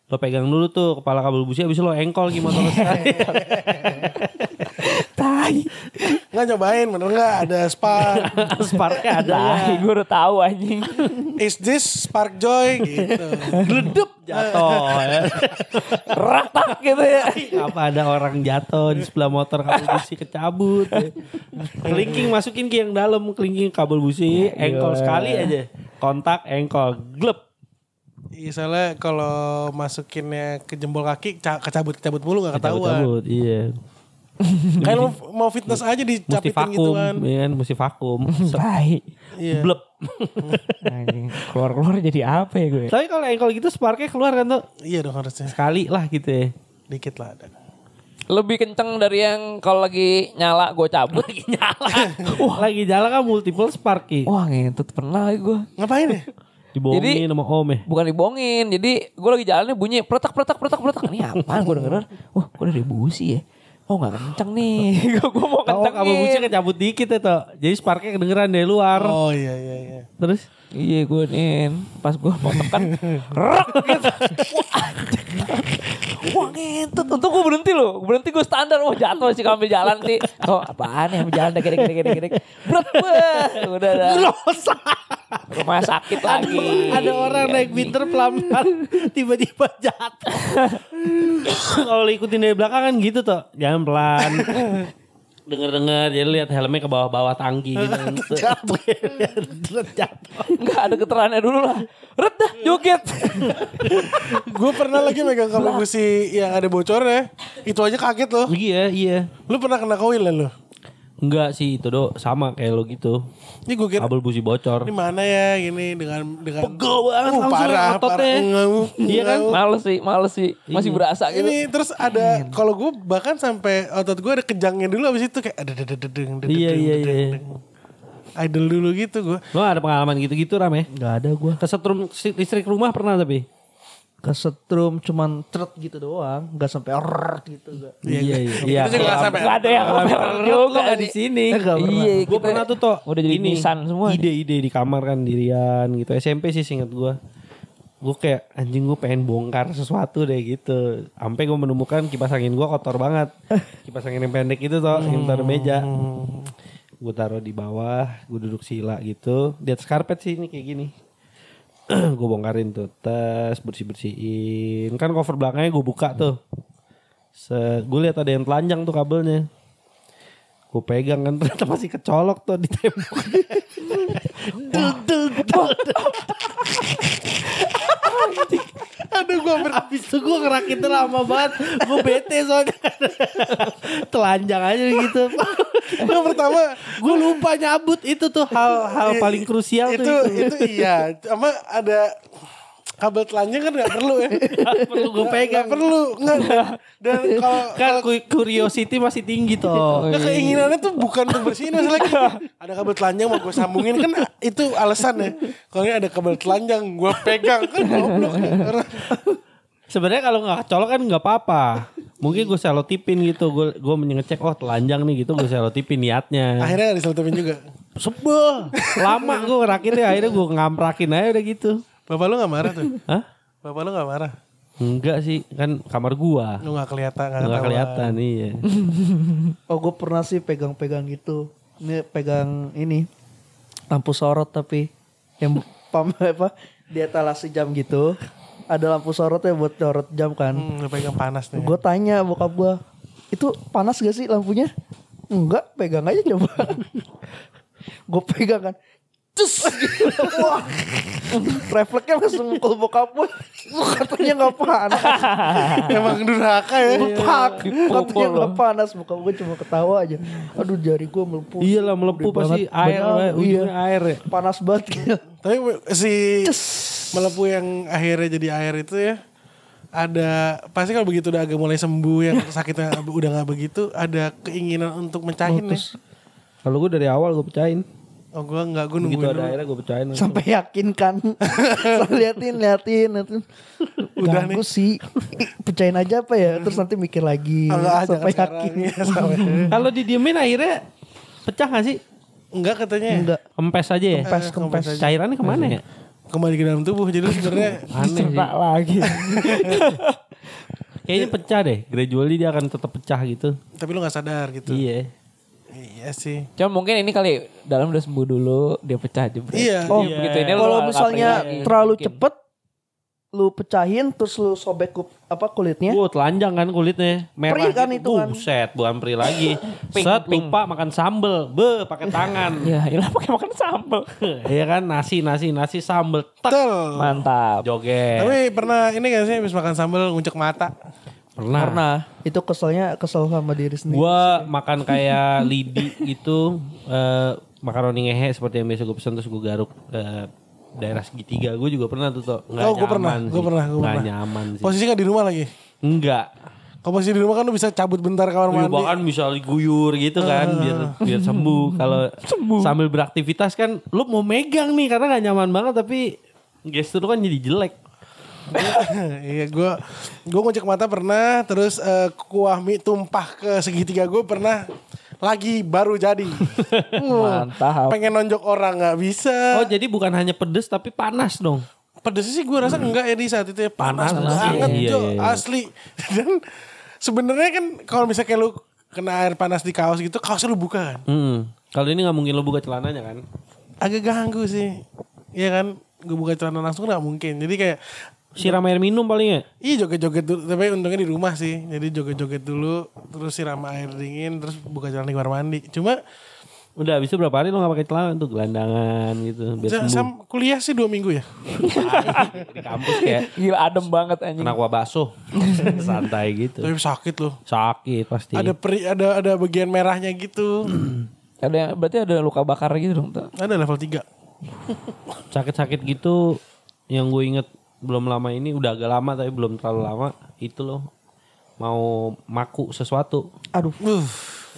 Speaker 2: Lo pegang dulu tuh kepala kabel busi habis itu lo engkol gimana lo sekali.
Speaker 3: tai
Speaker 1: Enggak nyobain bener enggak Ada spark
Speaker 2: Sparknya ada.
Speaker 3: tai
Speaker 4: Iya.
Speaker 3: gue udah tahu anjing
Speaker 1: Is this spark joy gitu
Speaker 2: Gledep jatuh. ya.
Speaker 3: retak gitu ya
Speaker 2: Apa ada orang jatuh di sebelah motor kabel busi kecabut. ya. Kelingking masukin ke yang dalam, kelingking kabel busi, engkol sekali aja. Kontak engkol, glep.
Speaker 1: Iya soalnya kalau masukinnya ke jempol kaki ca- Kecabut kecabut mulu gak ketahuan
Speaker 2: Cabut-cabut, Iya.
Speaker 1: Kayak lu mau fitness aja
Speaker 2: Mesti
Speaker 1: dicapitin
Speaker 2: vakum,
Speaker 1: gituan
Speaker 2: ya kan? Mesti vakum. Set,
Speaker 3: tai
Speaker 1: Iya.
Speaker 2: Blep.
Speaker 3: anjing keluar keluar jadi apa ya gue
Speaker 2: Tapi kalau engkol gitu sparknya keluar kan tuh
Speaker 1: Iya dong harusnya
Speaker 2: sekali lah gitu ya.
Speaker 1: Dikit lah ada
Speaker 3: lebih kenceng dari yang kalau lagi nyala gue cabut
Speaker 2: Lagi nyala. Lagi nyala kan multiple spark Ki.
Speaker 3: wah ngentut pernah gue
Speaker 1: Ngapain ya?
Speaker 2: Dibohongin
Speaker 3: Jadi-
Speaker 2: sama om ya.
Speaker 3: bukan dibongin jadi gue lagi jalannya bunyi peletak peletak peletak peletak ini apaan gue denger wah gue dari busi ya oh nggak kenceng nih gue gue mau
Speaker 2: Kalau kamu buci
Speaker 3: kencengin
Speaker 2: Oh, kecabut dikit ya toh. Jadi sparknya kedengeran dari luar.
Speaker 1: Oh iya iya iya
Speaker 2: Terus
Speaker 3: iya gue nih pas gue mau tekan rek gitu Wah, anjing. wah ngentut untung gue berhenti loh berhenti gue standar wah jatuh sih kalau ambil jalan sih oh apaan ya ambil jalan dek dek dek dek dek bret wah, udah dah rumah sakit lagi
Speaker 2: Ada orang naik winter pelan-pelan tiba-tiba jatuh. Kalau lo ikutin dari belakang kan gitu toh. Jangan pelan. denger-denger jadi lihat helmnya ke bawah-bawah tangki gitu. Jatuh. Jatuh.
Speaker 3: Enggak ada keterangannya dulu lah. Ret dah, joget.
Speaker 1: Gue pernah lagi megang kabel busi yang ada bocornya. Itu aja kaget loh.
Speaker 2: Iya, iya.
Speaker 1: Lu pernah kena koil ya lu?
Speaker 2: Enggak sih itu do sama kayak lo gitu.
Speaker 1: Ini gue kira
Speaker 2: Kabel busi bocor.
Speaker 1: ini mana ya gini dengan dengan
Speaker 2: Pegel banget
Speaker 1: Uh,
Speaker 2: langsung ya,
Speaker 1: parah,
Speaker 2: ototnya.
Speaker 1: parah. Ngau,
Speaker 2: Iya kan? Iya,
Speaker 1: ngau.
Speaker 3: Males sih, males sih. Masih berasa gitu.
Speaker 1: Ini terus ada kalau gue bahkan sampai otot gue ada kejangnya dulu abis itu kayak ada dedeng dedeng
Speaker 2: Iya, iya, iya.
Speaker 1: Idol dulu gitu gue.
Speaker 2: Lo ada pengalaman gitu-gitu Ram ya?
Speaker 4: Gak ada gue
Speaker 2: Kesetrum listrik rumah pernah tapi?
Speaker 4: Kesetrum cuman ceret gitu doang Gak sampai rrrr gitu gak.
Speaker 2: Iya, iya. Iya.
Speaker 1: Itu juga nggak sampai.
Speaker 3: Enggak ada yang
Speaker 2: Ram,
Speaker 3: over
Speaker 2: Ram, lo
Speaker 3: juga
Speaker 2: nggak di
Speaker 3: nih.
Speaker 2: sini.
Speaker 4: Eh, nggak pernah.
Speaker 3: Iya,
Speaker 2: Gue
Speaker 3: kita
Speaker 2: pernah tuh toh
Speaker 3: Udah jadi nisan semua. nih.
Speaker 2: Ide-ide di kamar kan dirian gitu SMP sih singkat gue Gue kayak anjing gue pengen bongkar sesuatu deh gitu Sampai gue menemukan kipas angin gue kotor banget Kipas angin yang pendek itu toh Yang
Speaker 3: Hmm.
Speaker 2: taruh meja Gue taruh di bawah Gue duduk sila gitu Di atas karpet sih ini kayak gini Gue bongkarin tuh Tes bersih-bersihin Kan cover belakangnya gue buka tuh Gue lihat ada yang telanjang tuh kabelnya Gue pegang kan ternyata masih kecolok tuh di tembok. Dul, dul, dul.
Speaker 1: Aduh gue hampir
Speaker 2: Abis itu gue ngerakitnya lama banget. Gue bete soalnya. Telanjang aja gitu.
Speaker 1: Yang pertama
Speaker 2: gue lupa nyabut itu tuh hal-hal paling krusial
Speaker 1: itu,
Speaker 2: tuh.
Speaker 1: itu iya sama ada kabel telanjang kan nggak perlu ya
Speaker 2: Perlu gue pegang.
Speaker 1: nggak perlu nggak dan kalau
Speaker 2: Kan ku- curiosity masih tinggi toh.
Speaker 1: nggak keinginannya tuh bukan untuk bersihin masalah gini. kan ada kabel telanjang mau gue sambungin kan itu alasan ya kalau ini ada kabel telanjang gue pegang kan goblok nih orang.
Speaker 2: Sebenarnya kalau nggak colok kan nggak apa-apa. Mungkin gue selotipin gitu. Gue gue ngecek oh telanjang nih gitu gue selotipin niatnya.
Speaker 1: akhirnya nggak diselotipin juga
Speaker 2: sebel lama gue ngerakitnya akhirnya gue ngamprakin aja udah gitu
Speaker 1: bapak lu nggak marah tuh
Speaker 2: Hah?
Speaker 1: bapak lu nggak marah
Speaker 2: enggak sih kan kamar gua
Speaker 1: lu nggak kelihatan
Speaker 2: nggak
Speaker 1: ketahuan.
Speaker 2: kelihatan iya
Speaker 4: Oh gue pernah sih pegang-pegang gitu Ini pegang ini Lampu sorot tapi Yang pam apa Di etalase jam gitu Ada lampu sorotnya buat sorot jam kan
Speaker 1: hmm, lu pegang panas nih
Speaker 4: Gue Iya. tanya bokap gue Itu panas gak sih lampunya? Enggak pegang aja coba Gue pegang kan Cus gitu. Wah. Refleksnya langsung mukul bokap gue Lu katanya gak panas
Speaker 1: emang durhaka ya
Speaker 2: Iya.
Speaker 4: Pak Katanya
Speaker 3: dipukul
Speaker 4: gak panas Bokap gue cuma ketawa aja Aduh jari gue melepuh
Speaker 2: iya lah melepuh
Speaker 4: Gede
Speaker 2: pasti
Speaker 4: banget.
Speaker 2: air
Speaker 4: Banyak,
Speaker 2: we. ujungnya
Speaker 4: iya.
Speaker 2: air ya
Speaker 4: Panas banget gila.
Speaker 1: Tapi si melepuh yang akhirnya jadi air itu ya ada pasti kalau begitu udah agak mulai sembuh yang sakitnya ab- udah nggak begitu ada keinginan untuk mencahin nih.
Speaker 2: kalau gue dari awal gue pecahin
Speaker 1: Oh gue nggak gue
Speaker 2: begitu
Speaker 1: nungguin
Speaker 2: ada
Speaker 1: dulu.
Speaker 2: airnya gue pecahin
Speaker 4: Sampai yakin kan Saya Liatin liatin liatin
Speaker 1: Udah
Speaker 4: Ganggu sih Ih, Pecahin aja apa ya Terus nanti mikir
Speaker 2: Iya,
Speaker 4: lagi
Speaker 1: Ah, nggak, jangan
Speaker 4: Sampai
Speaker 1: sekarang.
Speaker 4: yakin
Speaker 2: ya.
Speaker 1: Iya, sampai.
Speaker 2: kalau didiemin akhirnya pecah gak sih
Speaker 1: Enggak katanya ya?
Speaker 4: Enggak
Speaker 2: kempes aja ya
Speaker 4: Kempes, kempes.
Speaker 2: cairannya kemana ya
Speaker 1: kembali ke dalam tubuh jadi lu sebenarnya
Speaker 2: aneh sih
Speaker 3: Cerita lagi.
Speaker 2: kayaknya pecah deh gradually dia akan tetap pecah gitu
Speaker 1: tapi lu nggak sadar gitu.
Speaker 2: iya
Speaker 1: Iya sih.
Speaker 3: Cuma mungkin ini kali dalam udah sembuh dulu dia pecah jebret.
Speaker 1: Iya.
Speaker 4: Oh,
Speaker 3: Iya. begitu ini lu
Speaker 4: Kalau
Speaker 3: nggak
Speaker 4: misalnya
Speaker 3: ngapain lagi,
Speaker 4: terlalu
Speaker 3: mungkin.
Speaker 4: cepet Lu pecahin Terus lu sobek kup- apa kulitnya
Speaker 2: Wow, telanjang kan kulitnya merah.
Speaker 4: Perih kan
Speaker 2: gitu.
Speaker 4: itu kan.
Speaker 2: Buset, bukan perih lagi.
Speaker 3: Pink,
Speaker 2: Set
Speaker 3: pink.
Speaker 2: lupa makan sambel, be pakai tangan.
Speaker 3: Ya, ilah pakai makan sambal.
Speaker 2: Iya kan nasi nasi nasi sambel tek
Speaker 1: Betul.
Speaker 3: Mantap.
Speaker 2: joget.
Speaker 1: Tapi pernah ini gak sih habis makan sambal nguncek mata?
Speaker 2: Pernah.
Speaker 4: Nah itu keselnya Kesel sama diri sendiri
Speaker 2: Gua makan kayak lidi gitu eh makaroni ngehe seperti yang biasa gue pesan terus gue garuk eh, daerah segitiga gue juga pernah tuh tuh nggak
Speaker 1: Oh, gua
Speaker 2: nyaman
Speaker 1: pernah,
Speaker 2: sih
Speaker 1: gua pernah, gua
Speaker 2: Nggak
Speaker 1: pernah.
Speaker 2: nyaman sih
Speaker 1: Posisi nggak di rumah lagi.
Speaker 2: enggak
Speaker 1: Kalau posisi di rumah kan lu bisa cabut bentar kamar
Speaker 2: Iya,
Speaker 1: mandi. Eh.
Speaker 2: bahkan bisa diguyur gitu kan biar biar sembuh. Kalau sambil beraktivitas kan lu mau megang nih karena nggak nyaman banget tapi gestur lu kan jadi jelek.
Speaker 1: iya gue gue ngucek mata pernah terus eh, kuah mie tumpah ke segitiga gue pernah lagi baru jadi Hmm.
Speaker 3: Mantap.
Speaker 1: pengen nonjok orang nggak bisa
Speaker 2: Oh jadi bukan hanya pedes tapi panas dong.
Speaker 1: pedesnya sih gue rasa enggak ya di saat itu ya panas,
Speaker 2: Hmm. Panas,
Speaker 1: banget
Speaker 2: iya,
Speaker 1: Jo,
Speaker 2: iya, iya.
Speaker 1: asli dan sebenarnya kan kalau misalnya lu kena air panas di kaos gitu kaosnya lu buka kan
Speaker 2: Hmm. Kalau ini nggak mungkin lu buka celananya kan.
Speaker 1: agak ganggu sih Iya kan gue buka celana langsung nggak mungkin jadi kayak
Speaker 2: siram air minum paling ya.
Speaker 1: Iya joget-joget dulu, tapi untungnya di rumah sih. Jadi joget-joget dulu, terus siram air dingin, terus buka jalan di kamar mandi. Cuma
Speaker 2: Udah habis itu berapa hari lo gak pakai celana tuh gelandangan gitu biar
Speaker 1: sa-
Speaker 2: sembuh.
Speaker 1: sam- kuliah sih dua minggu ya.
Speaker 2: di kampus kayak
Speaker 3: Gila adem banget anjing.
Speaker 2: kena kuah bakso. Santai gitu.
Speaker 1: Tapi sakit loh.
Speaker 2: Sakit pasti.
Speaker 1: Ada peri, ada ada bagian merahnya gitu.
Speaker 2: Hmm.
Speaker 3: Ada yang berarti ada luka bakar gitu dong. Tuh.
Speaker 1: ada level 3.
Speaker 2: Sakit-sakit gitu yang gue inget belum lama ini udah agak lama tapi belum terlalu lama itu loh mau maku sesuatu
Speaker 4: Aduh,
Speaker 1: Uh,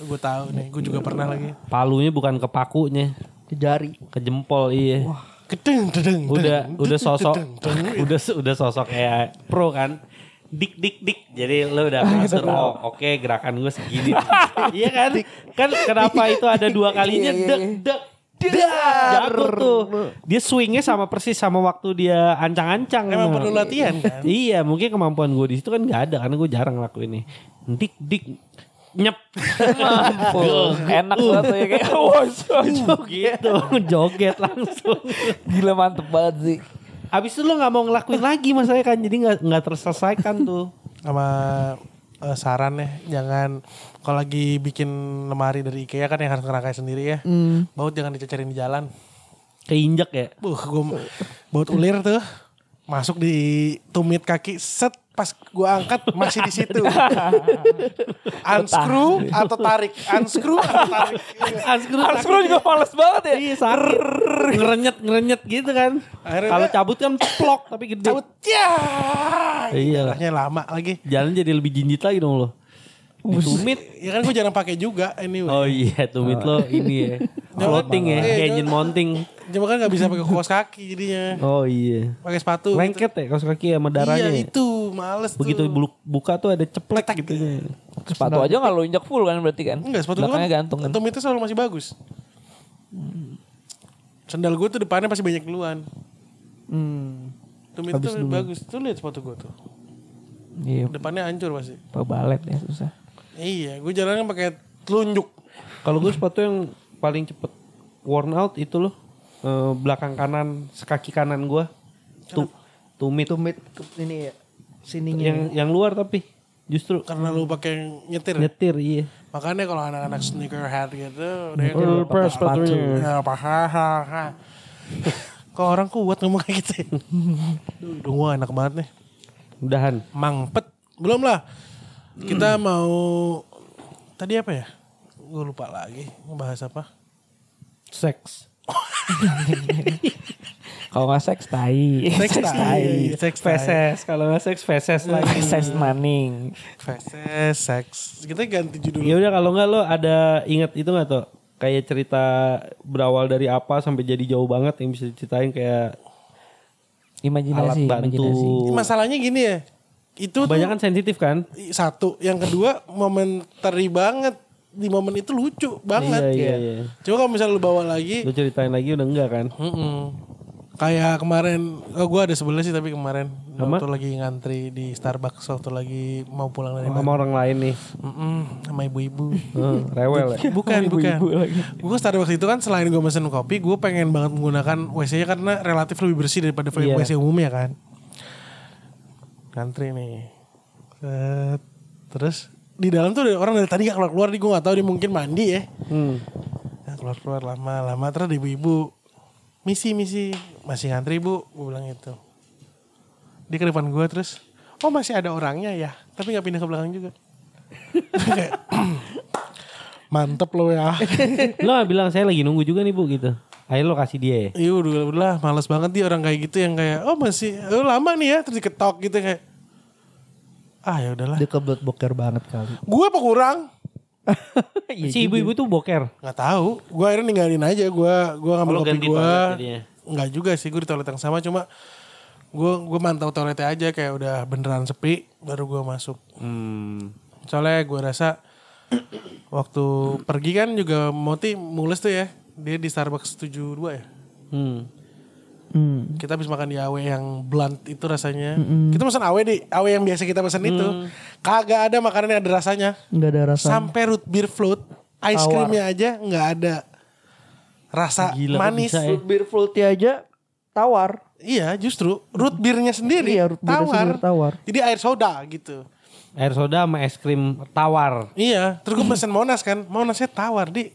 Speaker 1: gue tahu nih, gue juga pernah lagi.
Speaker 2: palunya bukan ke pakunya
Speaker 4: ke jari.
Speaker 2: ke jempol iya
Speaker 1: Kedeng, dedeng,
Speaker 2: udah
Speaker 1: dedeng,
Speaker 2: udah
Speaker 1: dedeng,
Speaker 2: sosok
Speaker 1: dedeng, dedeng.
Speaker 2: udah udah sosok kayak pro kan dik dik dik jadi lo udah ngatur oh oke gerakan gue segini iya kan kan kenapa itu ada dua kalinya
Speaker 3: Iya, iya,
Speaker 2: dek dek Dar. Jago tuh Dia swingnya sama persis sama waktu dia ancang-ancang
Speaker 1: Emang
Speaker 2: Nah.
Speaker 1: perlu latihan kan?
Speaker 2: Iya mungkin kemampuan gue di situ kan gak ada Karena gue jarang ngelakuin ini Dik dik Nyep
Speaker 1: Ah.
Speaker 3: Mampus. Enak
Speaker 1: Uh.
Speaker 3: banget tuh ya kayak wow,
Speaker 2: Gitu Joget langsung
Speaker 3: Gila mantep banget sih.
Speaker 2: Abis itu lo gak mau ngelakuin lagi masalahnya kan Jadi gak, nggak terselesaikan tuh
Speaker 1: sama eh, saran ya jangan kalau lagi bikin lemari dari IKEA kan yang harus ngerangkai sendiri ya
Speaker 2: Hmm.
Speaker 1: baut jangan dicecarin di jalan
Speaker 2: Keinjek ya
Speaker 1: buh gua baut ulir tuh masuk di tumit kaki set pas gua angkat masih di situ unscrew atau tarik unscrew atau tarik
Speaker 2: Unscrew
Speaker 3: Arsuro juga males banget ya.
Speaker 2: Iya sakit Ngerenyet ngerenyet gitu kan
Speaker 1: Akhirnya
Speaker 2: Kalau
Speaker 1: dia-
Speaker 2: cabut kan plok tapi gede
Speaker 1: cabut ya
Speaker 2: Iya.
Speaker 1: Darahnya lama lagi
Speaker 2: Jalan jadi lebih jinjit lagi dong lo Tumit
Speaker 1: ya kan gua jarang pakai juga anyway
Speaker 2: Oh iya tumit lo ini ya Floating ya
Speaker 1: Iya,
Speaker 2: Kayak engine
Speaker 1: jangan-
Speaker 2: mounting
Speaker 1: cuma kan nggak bisa pakai kaos kaki jadinya
Speaker 2: Oh iya
Speaker 1: pakai sepatu gitu.
Speaker 2: Lengket ya kaos kaki sama darahnya
Speaker 1: Iya
Speaker 2: ya.
Speaker 1: itu males
Speaker 2: Begitu
Speaker 1: tuh.
Speaker 2: bulu- buka tuh ada ceplek gitu
Speaker 3: Sepatu aja gak lo injak full kan berarti kan.
Speaker 1: Enggak sepatu gue
Speaker 3: Belakangnya
Speaker 1: kan
Speaker 3: gantung kan.
Speaker 1: Tumitnya selalu masih bagus Sendal gue tuh depannya pasti banyak duluan
Speaker 3: Hmm.
Speaker 1: Tumit tuh bagus Tuh liat sepatu gue tuh
Speaker 3: Iya.
Speaker 1: Depannya hancur pasti
Speaker 3: Pakai balet ya susah.
Speaker 1: Iya gue jalannya pakai telunjuk
Speaker 2: Kalau gue sepatu yang paling cepet worn out itu loh eh, belakang kanan sekaki kanan gue tuh tumit
Speaker 4: Tumit ke ini ya. Sininya.
Speaker 2: yang yang luar tapi justru
Speaker 1: Karena lu pakai yang nyetir
Speaker 2: ya. nyetir iya
Speaker 1: Makanya kalau anak-anak sneakerhead gitu
Speaker 2: Perlu
Speaker 1: Dia
Speaker 2: pers sepatunya.
Speaker 1: Ya apa hahaha. Kok orang kuat ngomong kayak gitu ya? Duh, hidung gue enak banget nih
Speaker 2: mudahan
Speaker 1: Mangpet belum lah. Kita mau tadi apa ya? Gue lupa lagi ngebahas apa.
Speaker 2: seks
Speaker 3: Kalau nggak seks tai.
Speaker 1: Seks tai,
Speaker 2: seks
Speaker 1: seks
Speaker 2: feses Hmm. kalau nggak seks feses lagi
Speaker 3: Seks maning.
Speaker 1: Feses, seks. Kita ganti judul.
Speaker 2: ya udah kalau nggak lo ada ingat itu nggak tuh kayak cerita berawal dari apa sampai jadi jauh banget yang bisa diceritain kayak alat
Speaker 3: Imajinasi.
Speaker 2: bantu
Speaker 3: imajinasi.
Speaker 1: Masalahnya gini ya. Itu tuh
Speaker 2: kebanyakan sensitif kan
Speaker 1: satu, yang kedua momentary banget. Di momen itu lucu banget
Speaker 2: Iya, iya,
Speaker 1: ya.
Speaker 2: iya.
Speaker 1: Coba kalau misalnya lu bawa lagi
Speaker 2: lo ceritain lagi udah enggak kan
Speaker 1: Mm-mm. Kayak kemarin, oh gue ada sebelah sih tapi kemarin
Speaker 2: Sama?
Speaker 1: waktu lagi ngantri di Starbucks waktu lagi mau pulang dari
Speaker 2: sama orang lain nih
Speaker 1: Mm-mm, sama ibu-ibu.
Speaker 2: Eh, rewel ya
Speaker 1: Bukan, bukan. Gue Starbucks itu kan selain gue mesen kopi, gue pengen banget menggunakan WC-nya karena relatif lebih bersih daripada
Speaker 2: Iya.
Speaker 1: WC umumnya kan. Ngantri nih. Set. Terus di dalam tuh ada orang dari tadi gak keluar-keluar nih gue gak tau dia mungkin mandi ya.
Speaker 2: Hmm.
Speaker 1: Nah, keluar-keluar lama-lama terus ada ibu-ibu. Misi, misi. Masih ngantri bu, gue bilang gitu. Dia ke depan gue terus, oh masih ada orangnya ya. Tapi gak pindah ke belakang juga. Kayak, Mantep lo ya.
Speaker 2: lo nggak bilang saya lagi nunggu juga nih bu gitu akhirnya lo kasih dia ya
Speaker 1: Iya udah udah lah males banget dia orang kayak gitu yang kayak oh masih oh, lama nih ya terus diketok gitu kayak ah ya udahlah.
Speaker 4: Dia kebelet boker banget kali.
Speaker 1: Gue apa kurang?
Speaker 2: si ibu-ibu tuh boker
Speaker 1: Nggak tahu. Gue akhirnya ninggalin aja. Gue gue ngambil
Speaker 2: Oh, lo
Speaker 1: kopi
Speaker 2: ganti
Speaker 1: gue.
Speaker 2: toilet jadinya?
Speaker 1: Nggak juga sih gue di toilet yang sama cuma gue gue mantau toiletnya aja kayak udah beneran sepi baru gue masuk.
Speaker 2: hmm.
Speaker 1: Soalnya gue rasa waktu pergi kan juga Moti mules tuh ya. Dia di Starbucks 72 ya.
Speaker 2: hmm.
Speaker 4: Hmm.
Speaker 1: kita habis makan di awe yang blunt itu rasanya. Kita pesan awe di awe yang biasa kita pesan itu.
Speaker 2: Hmm.
Speaker 1: Kagak ada makanan yang ada rasanya.
Speaker 4: Enggak ada rasa.
Speaker 1: Sampai root beer float, ice creamnya aja nggak ada rasa
Speaker 2: Gila, kok
Speaker 1: manis.
Speaker 2: bisa
Speaker 4: eh.
Speaker 2: ya?
Speaker 4: Beer floatnya aja tawar.
Speaker 1: Iya justru root beernya sendiri
Speaker 4: Iya, root beer-nya
Speaker 1: tawar.
Speaker 4: sendiri tawar.
Speaker 1: Jadi air soda gitu.
Speaker 2: Air soda sama es krim tawar.
Speaker 1: Iya, terus gue pesen Monas kan. Monasnya tawar, Di.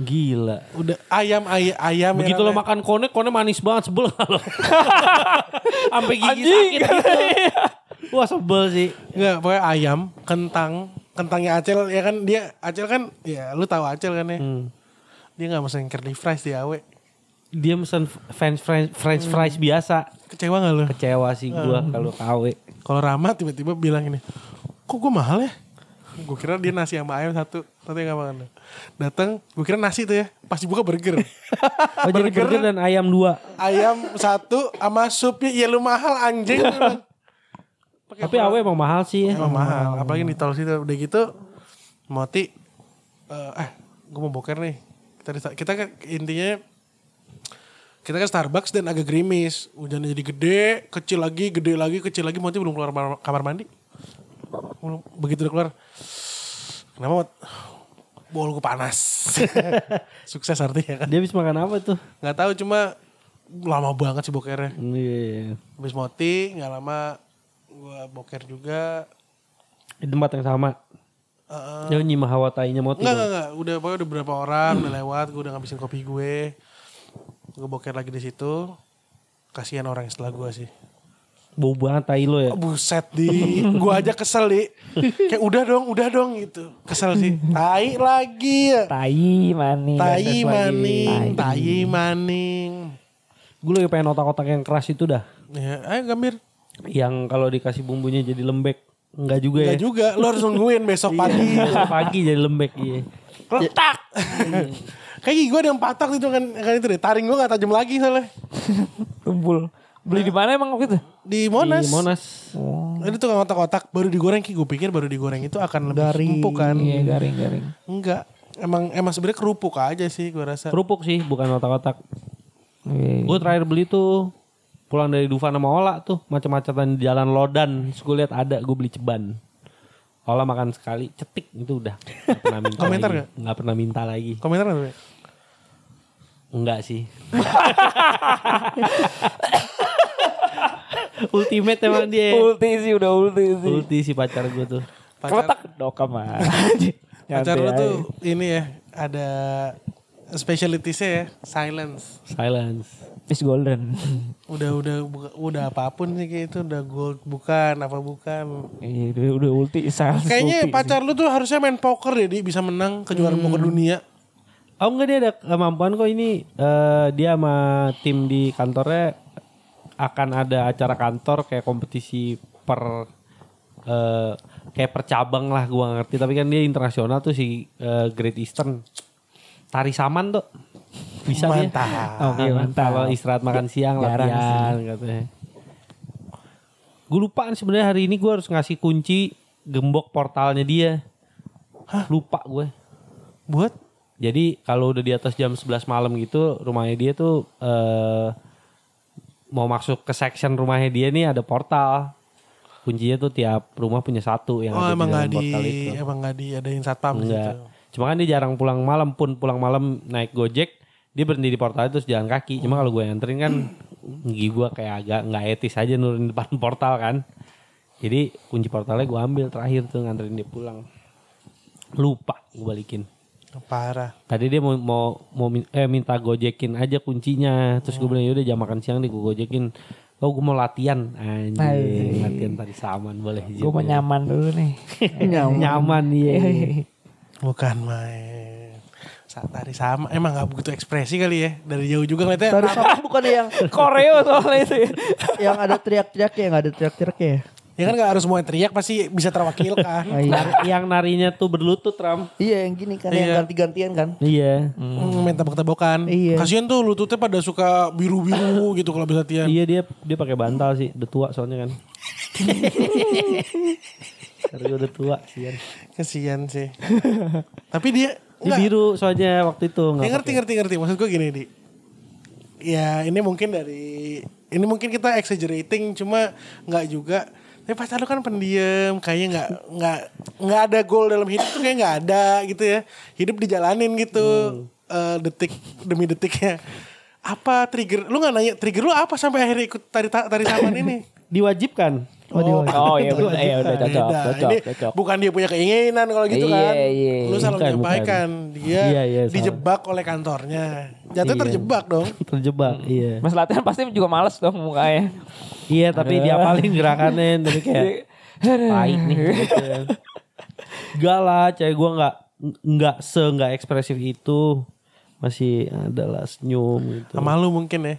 Speaker 2: Gila. ya.
Speaker 1: Udah ayam ay ayam yang
Speaker 2: Begitu lo
Speaker 1: namanya-
Speaker 2: makan kone, kone manis banget sebel lo. Sampai gigi
Speaker 3: Anjing.
Speaker 2: sakit gitu. Wah sebel sih.
Speaker 1: Enggak, pokoknya ayam, kentang, kentangnya Acel ya kan dia Acel kan ya lu tahu Acel kan
Speaker 4: Hmm.
Speaker 1: ya.
Speaker 2: Hmm.
Speaker 1: Dia nggak mesen curly fries di awe.
Speaker 2: Dia pesan french french french fries biasa.
Speaker 1: Kecewa gak lu?
Speaker 2: Kecewa sih gua kalau KW.
Speaker 1: Kalau Rama tiba-tiba bilang ini, kok gue mahal ya? Gue kira dia nasi sama ayam satu, tapi gak makan. Datang, gue kira nasi tuh ya, pas dibuka burger.
Speaker 2: Oh jadi burger dan ayam dua.
Speaker 1: ayam satu sama supnya, ya lu mahal anjing. Dia bilang. Pakai
Speaker 2: Tapi awe emang mahal sih ya.
Speaker 1: Emang mahal, apalagi di tol situ udah gitu Moti eh ah, gue mau boker nih. Kita di, kita kan intinya kita kan Starbucks dan agak gerimis. Hujannya jadi gede, kecil lagi, gede lagi, kecil lagi. Moti belum keluar kamar, kamar mandi. Belum- Begitu udah keluar. Kenapa Mot? Bol gue panas. Sukses artinya kan.
Speaker 2: Dia habis makan apa tuh?
Speaker 1: Gak tahu cuma lama banget sih bokernya.
Speaker 2: Iya.
Speaker 1: Habis Moti nggak lama gue boker juga.
Speaker 2: Di tempat yang sama.
Speaker 1: Eh,
Speaker 2: Dia nyimah hawa tainya mau
Speaker 1: Enggak,
Speaker 2: tidur.
Speaker 1: enggak, enggak. Udah, pokoknya udah berapa orang, udah lewat, gue udah ngabisin kopi gue. Gue boker lagi di situ. Kasihan orang yang setelah gue sih.
Speaker 2: Bau banget tai lo ya.
Speaker 1: Oh, buset di, gue aja kesel di. Kayak udah dong, udah dong gitu. Kesel sih. Tai lagi ya.
Speaker 3: Tai manis.
Speaker 1: Tai maning, tai maning.
Speaker 2: Gue lagi pengen otak-otak yang keras itu dah.
Speaker 1: Ya, ayo Gambir.
Speaker 2: Yang kalau dikasih bumbunya jadi lembek. Enggak juga ya.
Speaker 1: Enggak juga, lo harus nungguin besok pagi.
Speaker 2: Besok pagi jadi lembek iya.
Speaker 3: Tak.
Speaker 1: Kayak gue ada yang patah gitu kan, kan itu deh. Taring gue gak tajam lagi soalnya.
Speaker 3: Tumpul. Beli di mana emang waktu itu?
Speaker 1: Di Monas.
Speaker 2: Di Iya, Monas.
Speaker 1: Ini tukang otak-otak baru digoreng, Ki. Gue pikir baru digoreng itu akan lebih empuk kan.
Speaker 3: Iya garing-garing.
Speaker 1: Enggak. Emang emang sebenarnya kerupuk aja sih gue rasa.
Speaker 2: Kerupuk sih bukan otak-otak.
Speaker 3: Iya.
Speaker 2: Gue terakhir beli tuh pulang dari Dufan sama Ola tuh macam-macam di jalan Lodan. Terus gue lihat ada gue beli ceban. Ola makan sekali cetik itu udah. Gak pernah minta
Speaker 1: Komentar
Speaker 2: lagi.
Speaker 1: nggak?
Speaker 2: Nggak pernah minta lagi.
Speaker 1: Komentar nggak? Be?
Speaker 2: Enggak sih. Ultimate emang dia.
Speaker 3: Ulti sih udah ulti sih.
Speaker 2: Ulti si pacar gue tuh.
Speaker 1: Pacar,
Speaker 3: Kotak dokam mah.
Speaker 1: pacar lu tuh ini ya ada specialities-nya ya silence.
Speaker 2: Silence.
Speaker 3: Is golden.
Speaker 1: Udah udah buka- udah apapun sih kayak itu udah gold bukan apa bukan.
Speaker 3: Iya udah, udah ulti sales.
Speaker 1: Kayaknya
Speaker 3: ulti
Speaker 1: pacar lu tuh harusnya main poker ya, Di, bisa menang ke juara
Speaker 2: Hmm.
Speaker 1: poker dunia.
Speaker 2: Oh enggak dia ada kemampuan kok ini eh, dia sama tim di kantornya akan ada acara kantor kayak kompetisi per eh, kayak percabang lah gua nggak ngerti tapi kan dia internasional tuh si eh, Great Eastern tari saman tuh bisa
Speaker 1: Mantap.
Speaker 2: dia oh,
Speaker 3: Iya, mantap.
Speaker 2: kalau istirahat makan siang
Speaker 3: Jarang
Speaker 2: latihan katanya gue lupaan sebenarnya hari ini gua harus ngasih kunci gembok portalnya dia lupa gue
Speaker 1: Buat
Speaker 2: jadi kalau udah di atas jam 11 malam gitu rumahnya dia tuh eh mau masuk ke section rumahnya dia nih ada portal. Kuncinya tuh tiap rumah punya satu yang
Speaker 1: Oh
Speaker 2: ada
Speaker 1: emang
Speaker 2: di
Speaker 1: nggak
Speaker 2: dalam
Speaker 1: di
Speaker 2: Iya, portal itu.
Speaker 1: emang nggak di adain satpam di
Speaker 2: Enggak.
Speaker 1: situ.
Speaker 2: Cuma kan dia jarang pulang malam pun pulang malam naik Gojek, dia berhenti di portal itu terus jalan kaki. Cuma kalau gue anterin kan gigi gue kayak agak nggak etis aja nurunin depan portal kan. Jadi kunci portalnya gue ambil terakhir tuh nganterin dia pulang. Lupa gue balikin.
Speaker 1: Parah.
Speaker 2: Tadi dia mau mau, mau min- eh, minta gojekin aja kuncinya. Terus gue bilang yaudah jam makan siang deh gue gojekin. Oh gue mau latihan Anjing
Speaker 3: Anjing.
Speaker 2: Latihan tadi saman boleh izin.
Speaker 3: Gue mau nyaman dulu nih.
Speaker 4: Nyaman.
Speaker 2: Nyaman iya
Speaker 1: Bukan main. Saat hari sama emang nggak butuh ekspresi kali ya dari jauh juga ngeliatnya.
Speaker 4: Tari sama bukan yang
Speaker 3: Koreo soalnya itu. ya.
Speaker 4: yang ada teriak-teriaknya, yang ada teriak-teriaknya. ya?
Speaker 1: Ya kan gak harus semua yang teriak pasti bisa kan. terwakilkan.
Speaker 4: Ah, iya.
Speaker 2: Nar- Yang narinya tuh berlutut Ram
Speaker 4: Iya yang gini kan, yang
Speaker 1: Iya.
Speaker 4: ganti-gantian kan.
Speaker 2: Iya
Speaker 1: Hmm, Main tebak-tebakan.
Speaker 4: Iya.
Speaker 1: Kasian tuh lututnya pada suka biru-biru gitu kalau bisa latihan.
Speaker 2: Iya dia dia pakai bantal sih Udah tua soalnya kan Ntar gua udah tua sian.
Speaker 1: Kasian sih. Tapi dia
Speaker 2: Dia
Speaker 1: nggak-
Speaker 2: biru soalnya waktu itu
Speaker 1: Dia
Speaker 2: nggak
Speaker 1: Ya, ngerti ngerti ngerti. Maksud gue gini di. Ya ini mungkin dari ini mungkin kita exaggerating cuma nggak juga. Tapi pacar lu kan pendiam, kayaknya nggak nggak nggak ada goal dalam hidup tuh kayak nggak
Speaker 2: Hmm.
Speaker 1: ada gitu ya. Hidup dijalanin gitu eh, detik demi detiknya. apa trigger lu nggak nanya trigger lu apa sampai akhirnya ikut tari ta- tari taman ini Nah,
Speaker 2: Diwajibkan.
Speaker 3: Oh iya benar, iya udah cocok,
Speaker 1: Beda.
Speaker 3: cocok,
Speaker 1: Ini
Speaker 3: cocok.
Speaker 1: bukan dia punya keinginan kalau gitu
Speaker 3: Iya,
Speaker 1: kan
Speaker 3: iya.
Speaker 1: lu salah
Speaker 2: Bukan,
Speaker 1: menyampaikan dia
Speaker 2: Iya, iya, salah.
Speaker 1: dijebak oleh kantornya jatuh
Speaker 2: Iya.
Speaker 1: terjebak dong
Speaker 2: Terjebak, iya.
Speaker 3: Mas Latihan pasti juga males dong mukanya.
Speaker 2: Iya, tapi
Speaker 3: Aduh.
Speaker 2: diapalin gerakannya. Tapi kayak, tai nih. gitu kan. Enggak lah, cewek gue nggak nggak se nggak ekspresif itu masih adalah senyum gitu.
Speaker 1: sama lu mungkin ya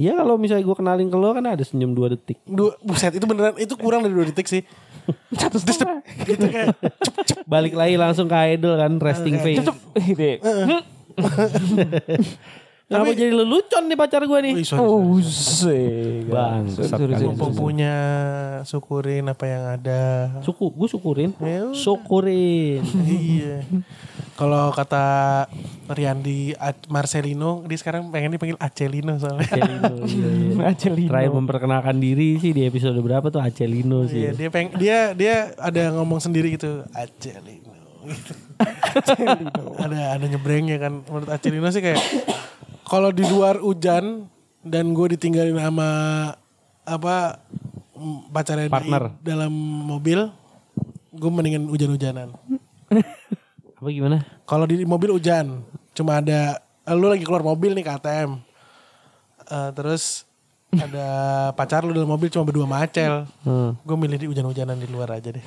Speaker 2: Iya kalau misalnya gue kenalin ke lo kan ada senyum dua detik.
Speaker 1: dua buset itu beneran itu kurang dari dua detik sih
Speaker 3: Satu setengah.
Speaker 1: gitu kayak cep, cep.
Speaker 2: Balik lagi langsung ke idol kan resting face.
Speaker 3: Cep, gitu.
Speaker 2: Kenapa jadi lelucon nih pacar gue nih?
Speaker 1: Wih, sorry, sorry.
Speaker 3: Oh, sih.
Speaker 2: Bang, sorry, sorry,
Speaker 1: Mumpung punya syukurin apa yang ada
Speaker 2: Suku, gue syukurin.
Speaker 1: Ya udah.
Speaker 2: Syukurin.
Speaker 1: iya kalau kata Riandi A- Marcelino dia sekarang pengen dipanggil Acelino soalnya
Speaker 2: Acelino. iya, iya.
Speaker 3: Acelino.
Speaker 2: Terakhir memperkenalkan diri sih di episode berapa tuh Acelino
Speaker 1: Iya,
Speaker 2: sih.
Speaker 1: dia peng dia dia ada ngomong sendiri gitu, Acelino. gitu. ada ada nyebrengnya kan. Menurut Acelino sih kayak kalau di luar hujan dan gue ditinggalin sama apa m- pacarnya di-
Speaker 2: Partner.
Speaker 1: dalam mobil, gue mendingan hujan-hujanan.
Speaker 2: Apa gimana?
Speaker 1: Kalau di mobil hujan, cuma ada eh, lu lagi keluar mobil nih ke ATM. Eh, terus ada pacar lu dalam mobil cuma berdua sama Acel.
Speaker 2: Hmm,
Speaker 1: Gue milih di hujan-hujanan di luar aja deh.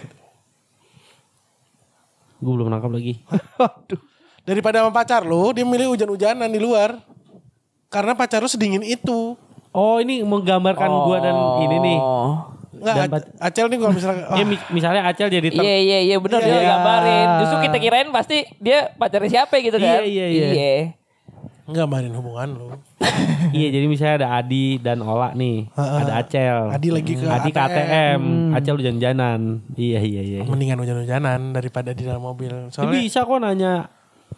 Speaker 2: gue belum nangkap lagi.
Speaker 1: Daripada sama pacar lu, dia milih hujan-hujanan di luar. Karena pacar lu sedingin itu.
Speaker 2: Oh ini menggambarkan gua dan ini nih.
Speaker 3: Oh.
Speaker 2: Dan
Speaker 1: Enggak,
Speaker 2: pat-
Speaker 1: Acel nih kalau misalnya
Speaker 2: Ya, mi- misalnya Acel jadi ter-
Speaker 3: Iya iya iya benar dia
Speaker 2: Iya.
Speaker 3: gambarin. Justru kita kirain pasti dia pacarnya siapa gitu
Speaker 2: Iya,
Speaker 3: kan.
Speaker 2: iya, iya.
Speaker 1: enggak mainin hubungan lu.
Speaker 2: Iya jadi misalnya ada Adi dan Ola nih.
Speaker 1: Heeh.
Speaker 2: Ada Acel.
Speaker 1: Adi lagi ke
Speaker 2: Adi ke ATM. Acel lu jalan Iya iya iya.
Speaker 1: Mendingan hujan-hujanan daripada di dalam mobil.
Speaker 2: Dia
Speaker 1: Soalnya
Speaker 2: bisa kok nanya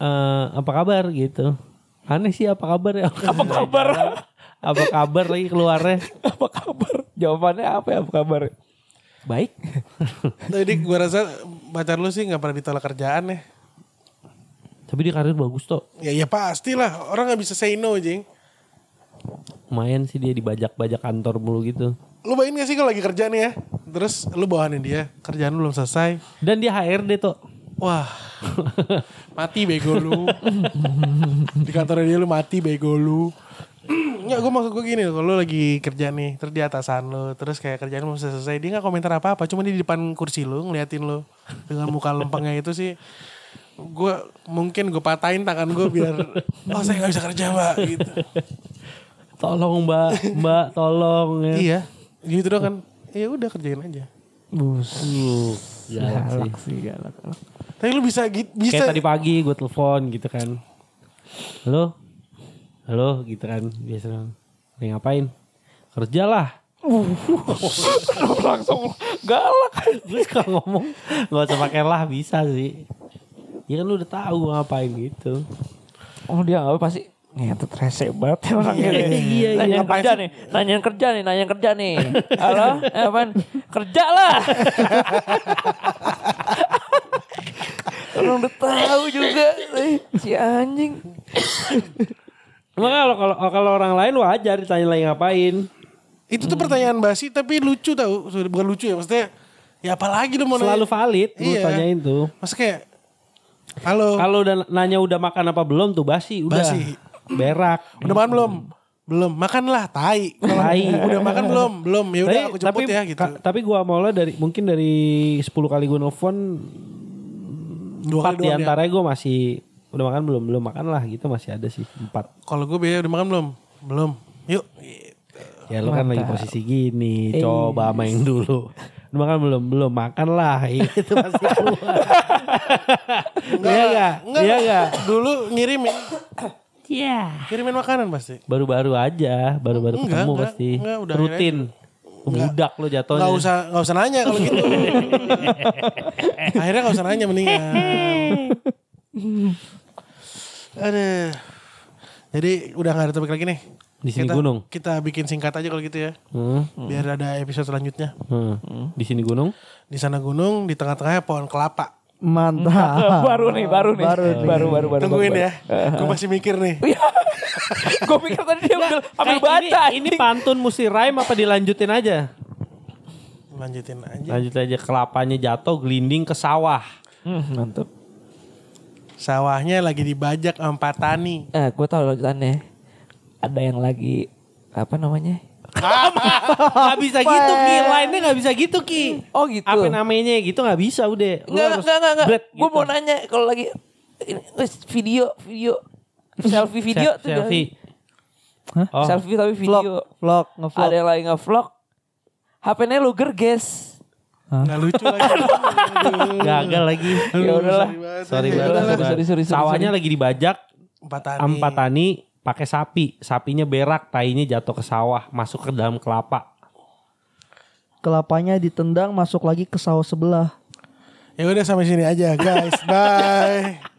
Speaker 2: eh, apa kabar gitu. Aneh sih apa kabar ya. Apa kabar? apa kabar lagi keluarnya?
Speaker 3: Apa kabar? Jawabannya apa ya apa kabar?
Speaker 2: Baik.
Speaker 1: jadi gue rasa pacar lu sih nggak pernah ditolak kerjaan ya.
Speaker 2: Tapi dia karir bagus tuh.
Speaker 1: Ya ya pastilah, orang nggak bisa say no, Jing.
Speaker 2: Lumayan sih dia dibajak-bajak kantor mulu gitu.
Speaker 1: Lu bayangin gak sih kalau lagi kerja nih ya? Terus lu bawahanin dia, kerjaan lu belum selesai.
Speaker 2: Dan dia HRD tuh.
Speaker 1: Wah, mati bego lu. di kantor dia lu mati bego lu. Enggak, gue maksud gue gini, kalau lu lagi kerja nih, terus di atasan lu, terus kayak kerjaan lu selesai, selesai, dia nggak komentar apa-apa, cuma dia di depan kursi lu ngeliatin lu dengan muka lempengnya itu sih, gue mungkin gue patahin tangan gue biar, oh saya nggak bisa kerja mbak, gitu.
Speaker 2: Tolong mbak, mbak tolong. ya.
Speaker 1: iya, gitu doang kan, ya udah kerjain aja.
Speaker 3: Bus.
Speaker 2: Aduh, galak sih.
Speaker 3: galak.
Speaker 1: Tapi lu bisa gitu, bisa.
Speaker 2: Kayak tadi pagi gue telepon gitu kan. Halo? Halo gitu kan. Biasa dong. Lagi ngapain? Kerja lah.
Speaker 3: Langsung galak.
Speaker 2: Gue suka ngomong gak usah pakai lah bisa sih. Ya kan lu udah tahu gua ngapain gitu.
Speaker 3: Oh dia apa pasti ngetet rese banget ya orangnya.
Speaker 2: Iya, iya, iya.
Speaker 3: Nanyain
Speaker 2: Ngapain
Speaker 3: kerja nih, nanyain kerja nih, nanyain kerja nih. Halo, eh, apaan? Kerja lah. Orang udah tahu juga. Eh, Si anjing.
Speaker 1: Iya.
Speaker 2: Emang kalau kalau kalau orang lain wajar ditanya lagi ngapain.
Speaker 1: Itu tuh pertanyaan basi tapi lucu tau. Sorry, Bukan lucu ya maksudnya. Ya apalagi lu mau nanya-
Speaker 2: Selalu valid lu
Speaker 1: Iya.
Speaker 2: tanyain tuh.
Speaker 1: Maksudnya kayak halo
Speaker 2: Kalau udah nanya udah makan apa belum tuh basi udah.
Speaker 1: Basi.
Speaker 2: Berak.
Speaker 1: udah makan belum? Belum. Makanlah tai. Kalau
Speaker 2: Tai.
Speaker 1: udah makan belum? Belum. Ya udah aku jemput ya gitu.
Speaker 2: ka- tapi gua mau lo dari mungkin dari 10 kali gua nelfon
Speaker 1: Dua kali
Speaker 2: empat di
Speaker 1: doang ya.
Speaker 2: antaranya gua masih udah makan belum belum makan lah gitu masih ada sih empat.
Speaker 1: Kalau gue biaya udah makan belum? Belum. Yuk.
Speaker 2: Iya, Ya lo kan lagi posisi gini, coba main dulu. Udah makan belum belum makan lah itu masih keluar. Iya enggak? Iya enggak?
Speaker 1: Dulu ngirimin. Iya. Kirimin makanan pasti.
Speaker 2: Baru-baru aja, baru-baru
Speaker 1: Enggak,
Speaker 2: ketemu
Speaker 1: enggak,
Speaker 2: pasti.
Speaker 1: enggak, udah
Speaker 2: Rutin. Budak lo jatuhnya.
Speaker 1: Gak usah gak usah nanya kalau gitu. Akhirnya gak usah nanya mendingan. Aduh. Jadi udah gak ada topik lagi nih.
Speaker 2: Di sini
Speaker 1: kita,
Speaker 2: gunung.
Speaker 1: Kita bikin singkat aja kalau gitu ya.
Speaker 2: Hmm,
Speaker 1: Biar ada episode selanjutnya.
Speaker 2: hmm. Di sini gunung.
Speaker 1: Di sana gunung, di tengah-tengahnya pohon kelapa.
Speaker 2: Ah,
Speaker 4: Mantap.
Speaker 3: baru nih, baru nih.
Speaker 4: Baru nih.
Speaker 3: baru, baru, baru.
Speaker 1: Tungguin
Speaker 3: baru,
Speaker 1: ya. Gue masih mikir nih.
Speaker 3: gue pikir tadi dia ambil, ambil
Speaker 2: Kayak Eh, ini-
Speaker 3: baca.
Speaker 2: Ini,
Speaker 3: anjing.
Speaker 2: pantun mesti rhyme apa dilanjutin aja?
Speaker 1: Lanjutin
Speaker 3: Iya.
Speaker 1: aja.
Speaker 2: Lanjut aja kelapanya jatuh gelinding ke sawah.
Speaker 3: Hmm, mantap.
Speaker 1: Sawahnya lagi dibajak sama Pak Tani.
Speaker 3: Eh, gue tahu lanjutannya. Ada yang lagi apa namanya?
Speaker 2: Gak bisa gitu Ki, lainnya gak bisa gitu Ki.
Speaker 3: Oh gitu.
Speaker 2: Apa namanya gitu gak bisa udah. Lu
Speaker 3: Enggak,
Speaker 2: harus
Speaker 3: enggak, enggak, enggak.
Speaker 2: break
Speaker 3: Gue
Speaker 2: gitu.
Speaker 3: mau nanya kalau lagi ini, wes, video, video, selfie video
Speaker 2: Se-
Speaker 3: tuh
Speaker 2: selfie.
Speaker 4: Hah?
Speaker 2: Oh.
Speaker 3: jangan- selfie tapi
Speaker 4: Vlog,
Speaker 3: video.
Speaker 4: vlog, ngevlog.
Speaker 3: Ada yang lagi nge-vlog. HP-nya lu gerges.
Speaker 1: Gak lucu lagi.
Speaker 2: Gagal lagi.
Speaker 3: Ya udahlah.
Speaker 1: Ya
Speaker 2: Sorry banget. sorry
Speaker 3: udahlah, sorry,
Speaker 2: banget.
Speaker 3: sorry, sorry,
Speaker 2: Sawahnya lagi dibajak
Speaker 1: Pak Tani.
Speaker 2: sama Pak Tani pakai sapi. Sapinya berak, tainya jatuh ke sawah, masuk ke dalam kelapa.
Speaker 4: Kelapanya ditendang masuk lagi ke sawah sebelah.
Speaker 1: Ya udah sampai sini aja guys. Bye.